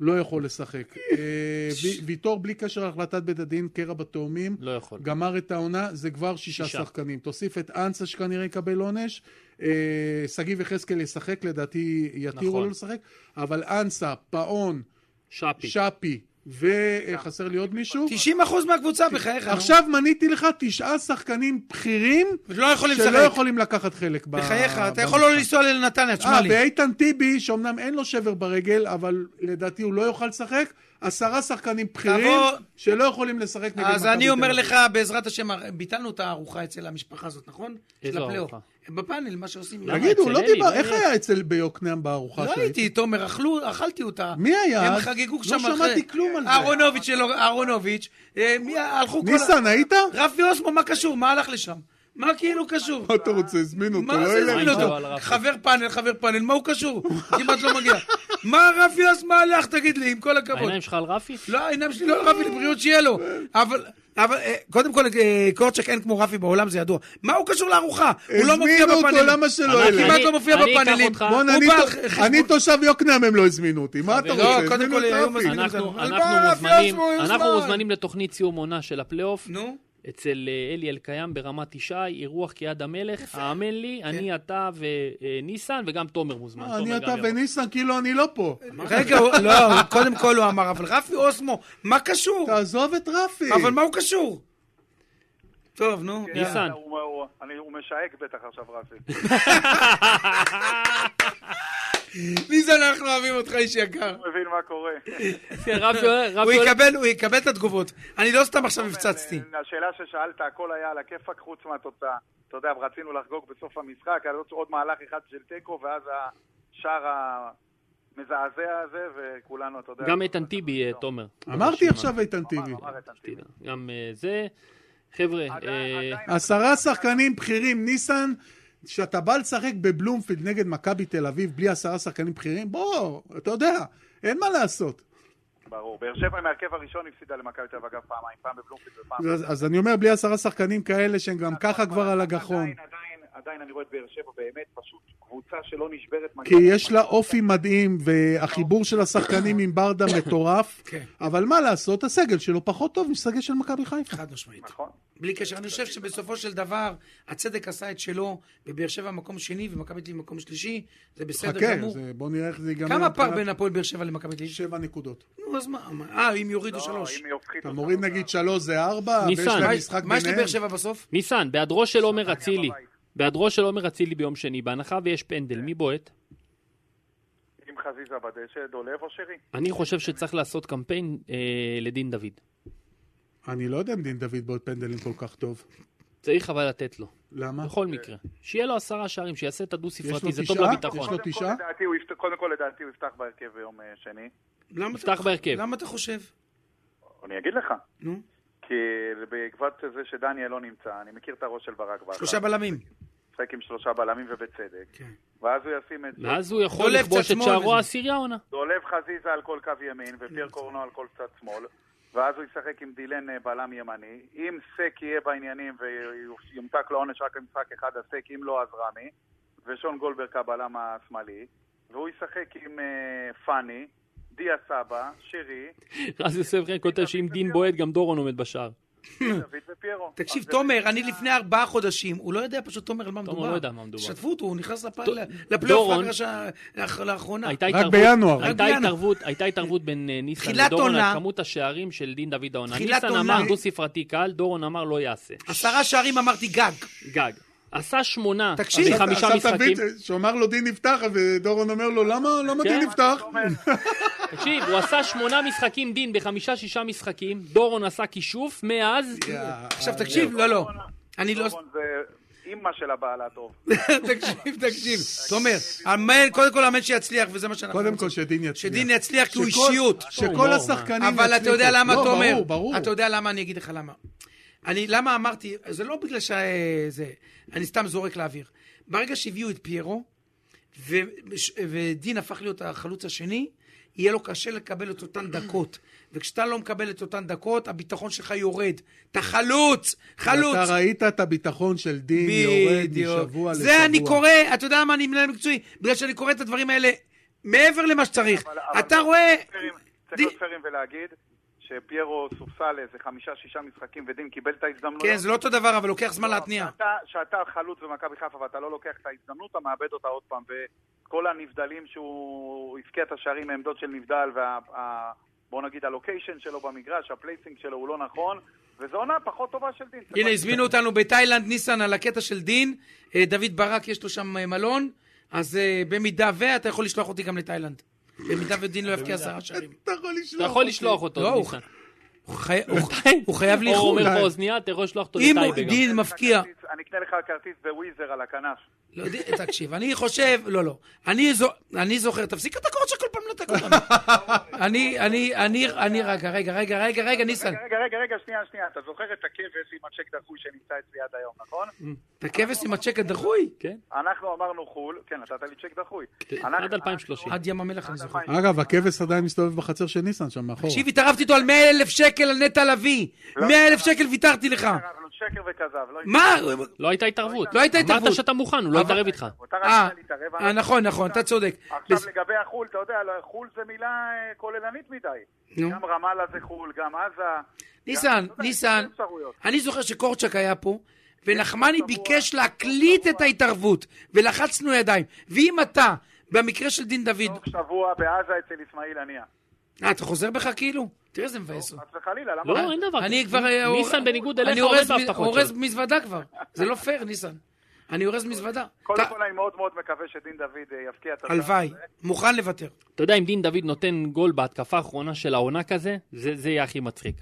Speaker 1: לא יכול לשחק. אה, ו- ויטור, בלי קשר להחלטת בית הדין, קרע בתאומים.
Speaker 3: לא יכול.
Speaker 1: גמר את העונה, זה כבר שישה,
Speaker 3: שישה.
Speaker 1: שישה. שחקנים. תוסיף את אנסה שכנראה יקבל עונש. אה, שגיב יחזקאל ישחק, לדעתי יתירו
Speaker 3: נכון.
Speaker 1: לו לשחק. אבל אנסה, פאון,
Speaker 3: שפי.
Speaker 1: שפי, וחסר לי עוד מישהו.
Speaker 2: 90% מהקבוצה, בחייך. נו.
Speaker 1: עכשיו מניתי לך תשעה שחקנים בכירים
Speaker 2: לא יכולים
Speaker 1: שלא
Speaker 2: לשחק.
Speaker 1: יכולים לקחת חלק ב...
Speaker 2: בחייך, אתה
Speaker 1: במשחק.
Speaker 2: יכול לא לנסוע לנתניה,
Speaker 1: אה,
Speaker 2: תשמע לי.
Speaker 1: ואיתן טיבי, שאומנם אין לו שבר ברגל, אבל לדעתי הוא לא יוכל לשחק, עשרה שחקנים בכירים
Speaker 2: תבוא-
Speaker 1: שלא יכולים לשחק נגד מכבי
Speaker 2: אז אני אומר
Speaker 1: תל אביב.
Speaker 2: לך, בעזרת השם, ביטלנו את הארוחה אצל המשפחה הזאת, נכון?
Speaker 3: איזה
Speaker 2: של הפלייאוף.
Speaker 3: ארוחה?
Speaker 2: בפאנל, מה שעושים.
Speaker 3: למה?
Speaker 1: תגידו,
Speaker 3: אצל
Speaker 1: לא
Speaker 3: אלי,
Speaker 1: דיבר,
Speaker 3: לא
Speaker 1: איך
Speaker 3: היה.
Speaker 1: היה אצל ביוקנעם בארוחה
Speaker 2: לא
Speaker 1: שהיית?
Speaker 2: הייתי, תומר, אכלו, אכלתי אותה.
Speaker 1: מי היה?
Speaker 2: הם
Speaker 1: אז?
Speaker 2: חגגו שם
Speaker 1: לא
Speaker 2: אחרי.
Speaker 1: שמעתי כלום על זה.
Speaker 2: אהרונוביץ' שלו, אהרונוביץ'. אה, מי הלכו כל... ה-
Speaker 1: ניסן, היית?
Speaker 2: רפי אוסמו, מה קשור? מה הלך לשם? מה כאילו קשור?
Speaker 1: מה אתה רוצה? הזמין אותו,
Speaker 2: מה
Speaker 1: לא
Speaker 2: זה
Speaker 1: אלה.
Speaker 2: הזמין
Speaker 3: מה,
Speaker 2: אותו?
Speaker 3: אבל רפי.
Speaker 2: חבר פאנל, חבר פאנל, מה הוא קשור? כמעט לא מגיע. מה רפי אוסמו הלך, תגיד לי, עם כל הכבוד.
Speaker 3: העיניים שלך על רפי?
Speaker 2: לא, העיניים שלי לא על רפי לבריאות שיהיה לו. אבל, אבל אה, קודם כל, אה, קורצ'ק אין כמו רפי בעולם, זה ידוע. מה הוא קשור לארוחה? הוא לא מופיע
Speaker 1: הזמינו אותו,
Speaker 2: בפאנלים.
Speaker 1: למה שלא
Speaker 3: אנחנו-
Speaker 1: אלה?
Speaker 2: כמעט לא מופיע
Speaker 3: אני אקח
Speaker 2: בפאנלים.
Speaker 3: אותך.
Speaker 2: הוא
Speaker 1: בוא'נה, אני
Speaker 2: בא
Speaker 1: תו-
Speaker 2: על חשבון-
Speaker 1: אני תושב יוקנעם, הם לא הזמינו אותי, מה אתה
Speaker 2: לא,
Speaker 1: רוצה?
Speaker 2: קודם
Speaker 1: הזמינו
Speaker 2: כל
Speaker 1: את
Speaker 2: היו
Speaker 1: רפי.
Speaker 2: מזמינים
Speaker 3: אנחנו-
Speaker 2: אותנו.
Speaker 3: אנחנו
Speaker 2: אלבאס,
Speaker 3: מוזמנים-
Speaker 2: יוסמו, יוזמן.
Speaker 3: אנחנו מוזמנים לתוכנית סיום עונה של הפלייאוף.
Speaker 2: נו,
Speaker 3: אצל אה, אלי אלקיים ברמת ישי, אירוח כיד המלך, האמן לי, אני, אתה וניסן, וגם תומר מוזמן.
Speaker 1: אה,
Speaker 3: תומר
Speaker 1: אני אתה
Speaker 3: גם יבוא.
Speaker 1: וניסן, כאילו אני לא פה.
Speaker 2: רגע, הוא- לא, הוא- קודם כל הוא אמר, אבל רפי אוסמו, מה קשור?
Speaker 1: תעזוב את רפי.
Speaker 2: אבל מה הוא קשור? טוב, נו.
Speaker 3: ניסן.
Speaker 4: יאללה, הוא- הוא- אני- הוא משייק בטח עכשיו, רפי.
Speaker 2: ניסן, אנחנו אוהבים אותך, איש יקר.
Speaker 4: הוא מבין מה קורה.
Speaker 3: כן, רפי אוהב-
Speaker 2: הוא
Speaker 3: רפי אוהב-
Speaker 2: יקבל, הוא יקבל את התגובות. אני לא סתם עכשיו הפצצתי.
Speaker 4: אה, השאלה ששאלת, הכל היה על הכיפאק חוץ מהתוצאה. אתה יודע, רצינו לחגוג בסוף המשחק, היה עוד- עוד מהלך אחד של תיקו, ואז השער המזעזע הזה, וכולנו, אתה יודע...
Speaker 3: גם איתן טיבי, אה, תומר.
Speaker 1: אמרתי עכשיו איתן טיבי.
Speaker 4: אמר, אמר איתן טיבי.
Speaker 3: גם אה, זה. חבר'ה,
Speaker 4: עדיין-
Speaker 3: אה,
Speaker 4: עדיין-
Speaker 1: עשרה שחקנים בכירים, ניסן, כשאתה בא לשחק בבלומפילד נגד מכבי תל אביב בלי עשרה שחקנים בכירים, בוא, אתה יודע, אין מה לעשות.
Speaker 4: ברור. באר שבע עם ההרכב הראשון הפסידה למכבי תל אביב, אגב, פעמיים, פעם בבלומפילד ופעם...
Speaker 1: אז, אז אני אומר, בלי עשרה שחקנים כאלה שהם גם ככה כבר על הגחון.
Speaker 4: עדיין, עדיין, עדיין אני רואה את באר שבע באמת פשוט קבוצה שלא נשברת.
Speaker 1: כי יש לה אופי מדהים, והחיבור של השחקנים עם ברדה מטורף,
Speaker 2: כן.
Speaker 1: אבל מה לעשות, הסגל שלו פחות טוב מסגל של מכבי חיפה.
Speaker 2: חד משמעית.
Speaker 4: נכון.
Speaker 2: בלי קשר, אני חושב שבסופו של דבר, הצדק עשה את שלו, ובאר שבע מקום שני ומכבי תל אביב מקום שלישי, זה בסדר
Speaker 1: חכה,
Speaker 2: גמור.
Speaker 1: זה- לא בוא נראה איך זה ייגמר.
Speaker 2: כמה פער
Speaker 1: מבחינת
Speaker 2: בין הפועל באר שבע למכבי תל אביב?
Speaker 1: שבע נקודות.
Speaker 2: נו, אז מה? מה- אה, אם יורידו שלוש.
Speaker 4: לא, אם יופחית
Speaker 1: אתה
Speaker 4: אותנו,
Speaker 1: מוריד נגיד שלוש זה ארבע, ויש
Speaker 3: ניסן,
Speaker 1: להם
Speaker 2: מה-
Speaker 1: משחק
Speaker 2: מה יש לבאר
Speaker 1: ביניהם.
Speaker 2: שבע בסוף?
Speaker 3: ניסן, בהיעדרו של עומר אצילי,
Speaker 4: בבית.
Speaker 3: בהיעדרו של עומר אצילי ביום שני, בהנחה ויש פנדל, מי בועט?
Speaker 4: אם חזיזה בדשא, דולב או שרי.
Speaker 3: אני חושב שצריך לעשות קמפיין אה, לדין דוד.
Speaker 1: אני לא יודע אם דין דוד בעוד פנדלים כל כך טוב.
Speaker 3: צריך אבל לתת לו,
Speaker 1: למה?
Speaker 2: נכון.
Speaker 3: בכל מקרה. שיהיה לו עשרה שערים, שיעשה את
Speaker 1: יש לו
Speaker 3: הדו-ספרתי, זה טוב
Speaker 1: תשעה?
Speaker 3: לביטחון.
Speaker 1: נכון. יש לו
Speaker 4: קודם כל,
Speaker 1: תשעה?
Speaker 4: לדעתי הוא יפת- קודם כל לדעתי הוא יפתח בהרכב ביום אה, שני.
Speaker 2: למה אתה-
Speaker 3: יפתח בהרכב.
Speaker 2: למה אתה חושב?
Speaker 4: אני אגיד לך.
Speaker 2: נו.
Speaker 4: כי בעקבות זה שדניאל לא נמצא, אני מכיר את הראש של ברק בכר.
Speaker 2: שלושה בלמים.
Speaker 4: משחק עם שלושה בלמים ובצדק.
Speaker 2: כן.
Speaker 4: ואז הוא ישים את
Speaker 3: ואז הוא יכול
Speaker 1: לא
Speaker 2: דולב
Speaker 3: לכבוש
Speaker 2: צד
Speaker 3: את
Speaker 2: שמאל
Speaker 3: שערו
Speaker 2: וזה.
Speaker 3: העשירי העונה.
Speaker 4: דולב חזיזה על כל קו ימין,
Speaker 2: כן,
Speaker 4: ופייר קורנו על כל צד שמאל, ואז הוא ישחק עם דילן אה, בלם ימני. אם סק יהיה בעניינים ויומתק לו עונש רק למשחק אחד, אז סק, אם לא, אז רמי, ושון גולדברג הבלם השמאלי, והוא ישחק עם אה, פאני, דיה סבא, שרי,
Speaker 3: רז יוסף חן כותב שאם דין בועט, גם דורון עומד בשער.
Speaker 4: דוד ופיירו.
Speaker 2: כן. תקשיב,
Speaker 4: אז אה, זה-
Speaker 2: תומר, אני לפני ארבעה חודשים, הוא לא יודע פשוט, תומר, על מה מדובר.
Speaker 3: לא יודע מה מדובר.
Speaker 2: שתפו אותו, הוא נכנס לפ-
Speaker 3: ד-
Speaker 2: לפלייאוף
Speaker 3: דורון.
Speaker 2: רק השעה- לאח- לאחרונה.
Speaker 3: הייתה
Speaker 1: רק
Speaker 3: התערבות-
Speaker 1: בינואר.
Speaker 3: הייתה
Speaker 2: רק בינואר.
Speaker 3: התערבות- הייתה התערבות בין אה, ניסן
Speaker 2: תחילת
Speaker 3: לדורון
Speaker 2: עונה.
Speaker 3: על כמות השערים של דין דוד העונה.
Speaker 2: תחילת
Speaker 3: ניסן
Speaker 2: עונה.
Speaker 3: אמר דו-ספרתי קל, דורון אמר לא יעשה.
Speaker 2: עשרה שערים אמרתי גג.
Speaker 3: גג. עשה שמונה
Speaker 2: תקשיב,
Speaker 3: בחמישה
Speaker 1: עכשיו תבין
Speaker 3: משחקים.
Speaker 1: שאומר לו דין נפתח, ודורון אומר לו, למה למה
Speaker 3: כן.
Speaker 1: דין נפתח?
Speaker 3: תקשיב, הוא עשה שמונה משחקים דין בחמישה-שישה משחקים, דורון עשה כישוף, מאז...
Speaker 2: כן. עכשיו
Speaker 4: אה,
Speaker 2: תקשיב, לא, לא. אני לא...
Speaker 4: דורון זה אימא של הבעל הטוב.
Speaker 2: תקשיב, תקשיב. תומר, אמן, קודם כל אמן שיצליח, וזה מה שאנחנו...
Speaker 1: קודם כל
Speaker 2: רוצים.
Speaker 1: שדין יצליח.
Speaker 2: שדין יצליח כי הוא
Speaker 1: שכל-
Speaker 2: אישיות. לא,
Speaker 1: שכל
Speaker 3: הומור,
Speaker 1: השחקנים יצליחו.
Speaker 2: אבל אתה יודע למה,
Speaker 1: לא,
Speaker 2: תומר?
Speaker 1: ברור, ברור.
Speaker 2: אתה יודע למה, אני אגיד לך למה. אני, למה אמרתי, זה לא בגלל ש... זה, אני סתם זורק לאוויר. ברגע שהביאו את פיירו, ו, וש- ודין הפך להיות החלוץ השני, יהיה לו קשה לקבל את אותן דקות. וכשאתה לא מקבל את אותן דקות, הביטחון שלך יורד. אתה חלוץ! חלוץ!
Speaker 1: אתה ראית את הביטחון של דין יורד משבוע לשבוע.
Speaker 2: זה אני קורא, אתה יודע מה, אני מנהל מקצועי, בגלל שאני קורא את הדברים האלה מעבר למה שצריך.
Speaker 4: אבל- אבל-
Speaker 2: אתה רואה...
Speaker 4: פיירים, צריך
Speaker 2: די-
Speaker 4: להיות פיירים ולהגיד שפיירו סופסל לאיזה חמישה-שישה משחקים, ודין קיבל את ההזדמנות.
Speaker 2: כן, זה לא אותו דבר, אבל לוקח זמן
Speaker 4: לא,
Speaker 2: להתניע.
Speaker 4: שאתה- שאתה חלוץ במכבי חיפה ואתה לא לוקח את ההזדמנות, אתה מאבד אותה עוד פעם. וכל הנבדלים שהוא הבקיע את השערים מעמדות של נבדל, וה... ה- בוא נגיד הלוקיישן שלו במגרש, הפלייסינג שלו הוא לא נכון, וזו עונה פחות טובה של דין.
Speaker 2: הנה, הזמינו אותנו בתאילנד, ניסן, על הקטע של דין. אה, דוד ברק, יש לו שם אה, מלון, אז אה, במידה ו... אתה יכול לשלוח אותי גם לתאילנד. במידה ודין לא יבקיע עשרה שערים.
Speaker 1: אתה יכול לשלוח.
Speaker 3: אתה יכול
Speaker 1: אותי.
Speaker 3: לשלוח אותו,
Speaker 2: לא, הוא
Speaker 3: ניסן.
Speaker 2: הוא חי- הוא- הוא חייב
Speaker 3: או
Speaker 2: לאיחוד.
Speaker 3: אומר באוזנייה, אתה יכול לשלוח אותו
Speaker 2: אם הוא-
Speaker 3: לטייבה גם.
Speaker 2: דין מפקיע...
Speaker 4: אני אקנה לך כרטיס בוויזר על הכנף.
Speaker 2: לא יודע, תקשיב, אני חושב, לא, לא. אני, זו, אני זוכר, תפסיק את הקורות שכל פעם לנתק אותנו. אני, אני, אני, אני, רגע, רגע, רגע, רגע, רגע, ניסן.
Speaker 4: רגע, רגע, רגע, רגע, שנייה, שנייה. אתה זוכר את הכבש עם הצ'ק דחוי שנמצא אצלי עד היום, נכון?
Speaker 2: את הכבש עם הצ'ק הדחוי?
Speaker 3: כן?
Speaker 4: אנחנו אמרנו חו"ל, כן, נתת לי צ'ק דחוי.
Speaker 2: כן,
Speaker 4: אנחנו-
Speaker 3: עד 2030.
Speaker 2: עד ים המלח אני זוכר.
Speaker 1: אגב, הכבש עדיין מסתובב בחצר של ניסן שם מאחור.
Speaker 2: תקשיב, התערבתי איתו על 100 אלף שקל על נטע לביא.
Speaker 4: לא.
Speaker 2: 100 אלף שקל ויתרתי לך.
Speaker 4: אנחנו שקר וכזב, לא...
Speaker 2: מה?
Speaker 3: לא הייתה התערבות.
Speaker 2: לא הייתה התערבות.
Speaker 3: אמרת שאתה מוכן, הוא לא
Speaker 2: אבל-
Speaker 3: יתערב איתך.
Speaker 4: אתה
Speaker 2: אה,
Speaker 4: רצית להתערב.
Speaker 2: אה, נכון, נכון, אתה צודק.
Speaker 4: עכשיו לגבי החו"ל, אתה יודע, לא, חו"ל זה מילה אה, כוללנית מדי.
Speaker 2: נו.
Speaker 4: גם רמאללה זה חו"ל, גם עזה. גם-
Speaker 2: ניסן,
Speaker 4: אתה יודע,
Speaker 2: ניסן,
Speaker 4: יש אפשרויות.
Speaker 2: אני זוכר שקורצ'אק היה פה, ונחמני ביקש להקליט את ההתערבות, ולחצנו ידיים. ואם אתה, במקרה של דין דוד,
Speaker 4: סוף שבוע בעזה אצל אסמאעיל הנייה.
Speaker 2: אה, אתה חוזר בך כאילו? תראה איזה מבאס אותי.
Speaker 4: חס וחלילה, למה?
Speaker 3: לא, אין דבר.
Speaker 2: אני
Speaker 3: כזה.
Speaker 2: כבר... אה,
Speaker 3: ניסן
Speaker 2: אה,
Speaker 3: בניגוד
Speaker 2: אני
Speaker 3: אליך עומד
Speaker 2: אורז מ-
Speaker 3: בהבטחות
Speaker 2: אורז
Speaker 3: שלו.
Speaker 2: מזוודה כבר. זה לא פייר, ניסן. אני אורז מזוודה.
Speaker 4: קודם
Speaker 2: אתה-
Speaker 4: כל, אני מאוד מאוד מקווה שדין דוד אה, יפקיע את השער.
Speaker 2: הלוואי.
Speaker 4: הזה.
Speaker 2: מוכן לוותר.
Speaker 3: אתה יודע, אם דין דוד נותן גול בהתקפה האחרונה של העונה כזה, זה זה יהיה הכי מצחיק.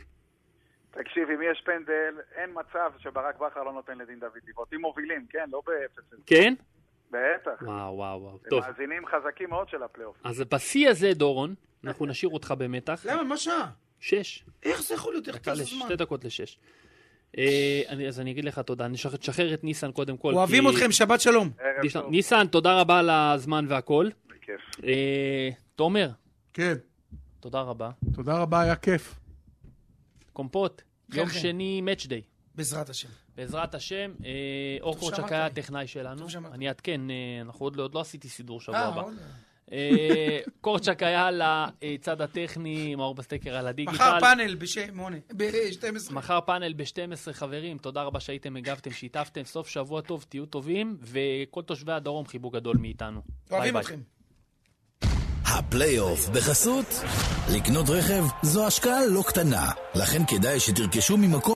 Speaker 4: תקשיב, אם יש פנדל, אין מצב שברק בכר לא נותן לדין דוד לבעוט. אם מובילים, כן? לא באפס.
Speaker 3: כן?
Speaker 4: בטח.
Speaker 3: וואו, וואו, וואו.
Speaker 4: הם
Speaker 3: טוב,
Speaker 4: מאזינים חזקים מאוד של הפלייאוף.
Speaker 3: אז בשיא הזה, דורון, אנחנו נשאיר אותך במתח.
Speaker 2: למה? מה שעה?
Speaker 3: שש.
Speaker 2: איך זה יכול להיות? איך
Speaker 3: דקה לש-
Speaker 2: אתה לא. זמן?
Speaker 3: שתי דקות לשש. אה, אני- אז אני אגיד לך תודה. נשחרר- תשחרר את ניסן קודם כל.
Speaker 2: אוהבים
Speaker 3: כי-
Speaker 2: אתכם, שבת שלום.
Speaker 4: ערב
Speaker 3: יש לנו-
Speaker 4: טוב,
Speaker 3: ניסן, תודה רבה על הזמן והכל.
Speaker 4: בכיף.
Speaker 3: אה, תומר,
Speaker 1: כן,
Speaker 3: תודה רבה.
Speaker 1: תודה רבה, היה כיף.
Speaker 3: קומפוט, יום
Speaker 2: כן.
Speaker 3: שני, מאץ' דיי.
Speaker 2: בעזרת השם.
Speaker 3: בעזרת השם, אה, אור
Speaker 2: טוב
Speaker 3: קורצ'אק
Speaker 2: שאמרת
Speaker 3: היה
Speaker 2: לי.
Speaker 3: הטכנאי שלנו.
Speaker 2: טוב שאמרת.
Speaker 3: אני אעדכן, אה, אנחנו עוד לא- עוד לא עשיתי סידור שבוע
Speaker 2: אה,
Speaker 3: הבא.
Speaker 2: עוד-
Speaker 3: אה, קורצ'אק היה לצד הטכני, מאור בסטקר על הדיגיטל.
Speaker 2: מחר פאנל בשמונה, ב-12.
Speaker 3: מחר פאנל ב-12 חברים, תודה רבה שהייתם, הגבתם, שיתפתם, סוף שבוע טוב, תהיו טובים, וכל תושבי הדרום חיבוק גדול מאיתנו. ביי
Speaker 2: אוהבים
Speaker 3: ביי.
Speaker 2: אתכם.
Speaker 5: הפלייאוף בחסות? לקנות רכב זו השקעה לא קטנה, לכן כדאי שתרכשו ממקום...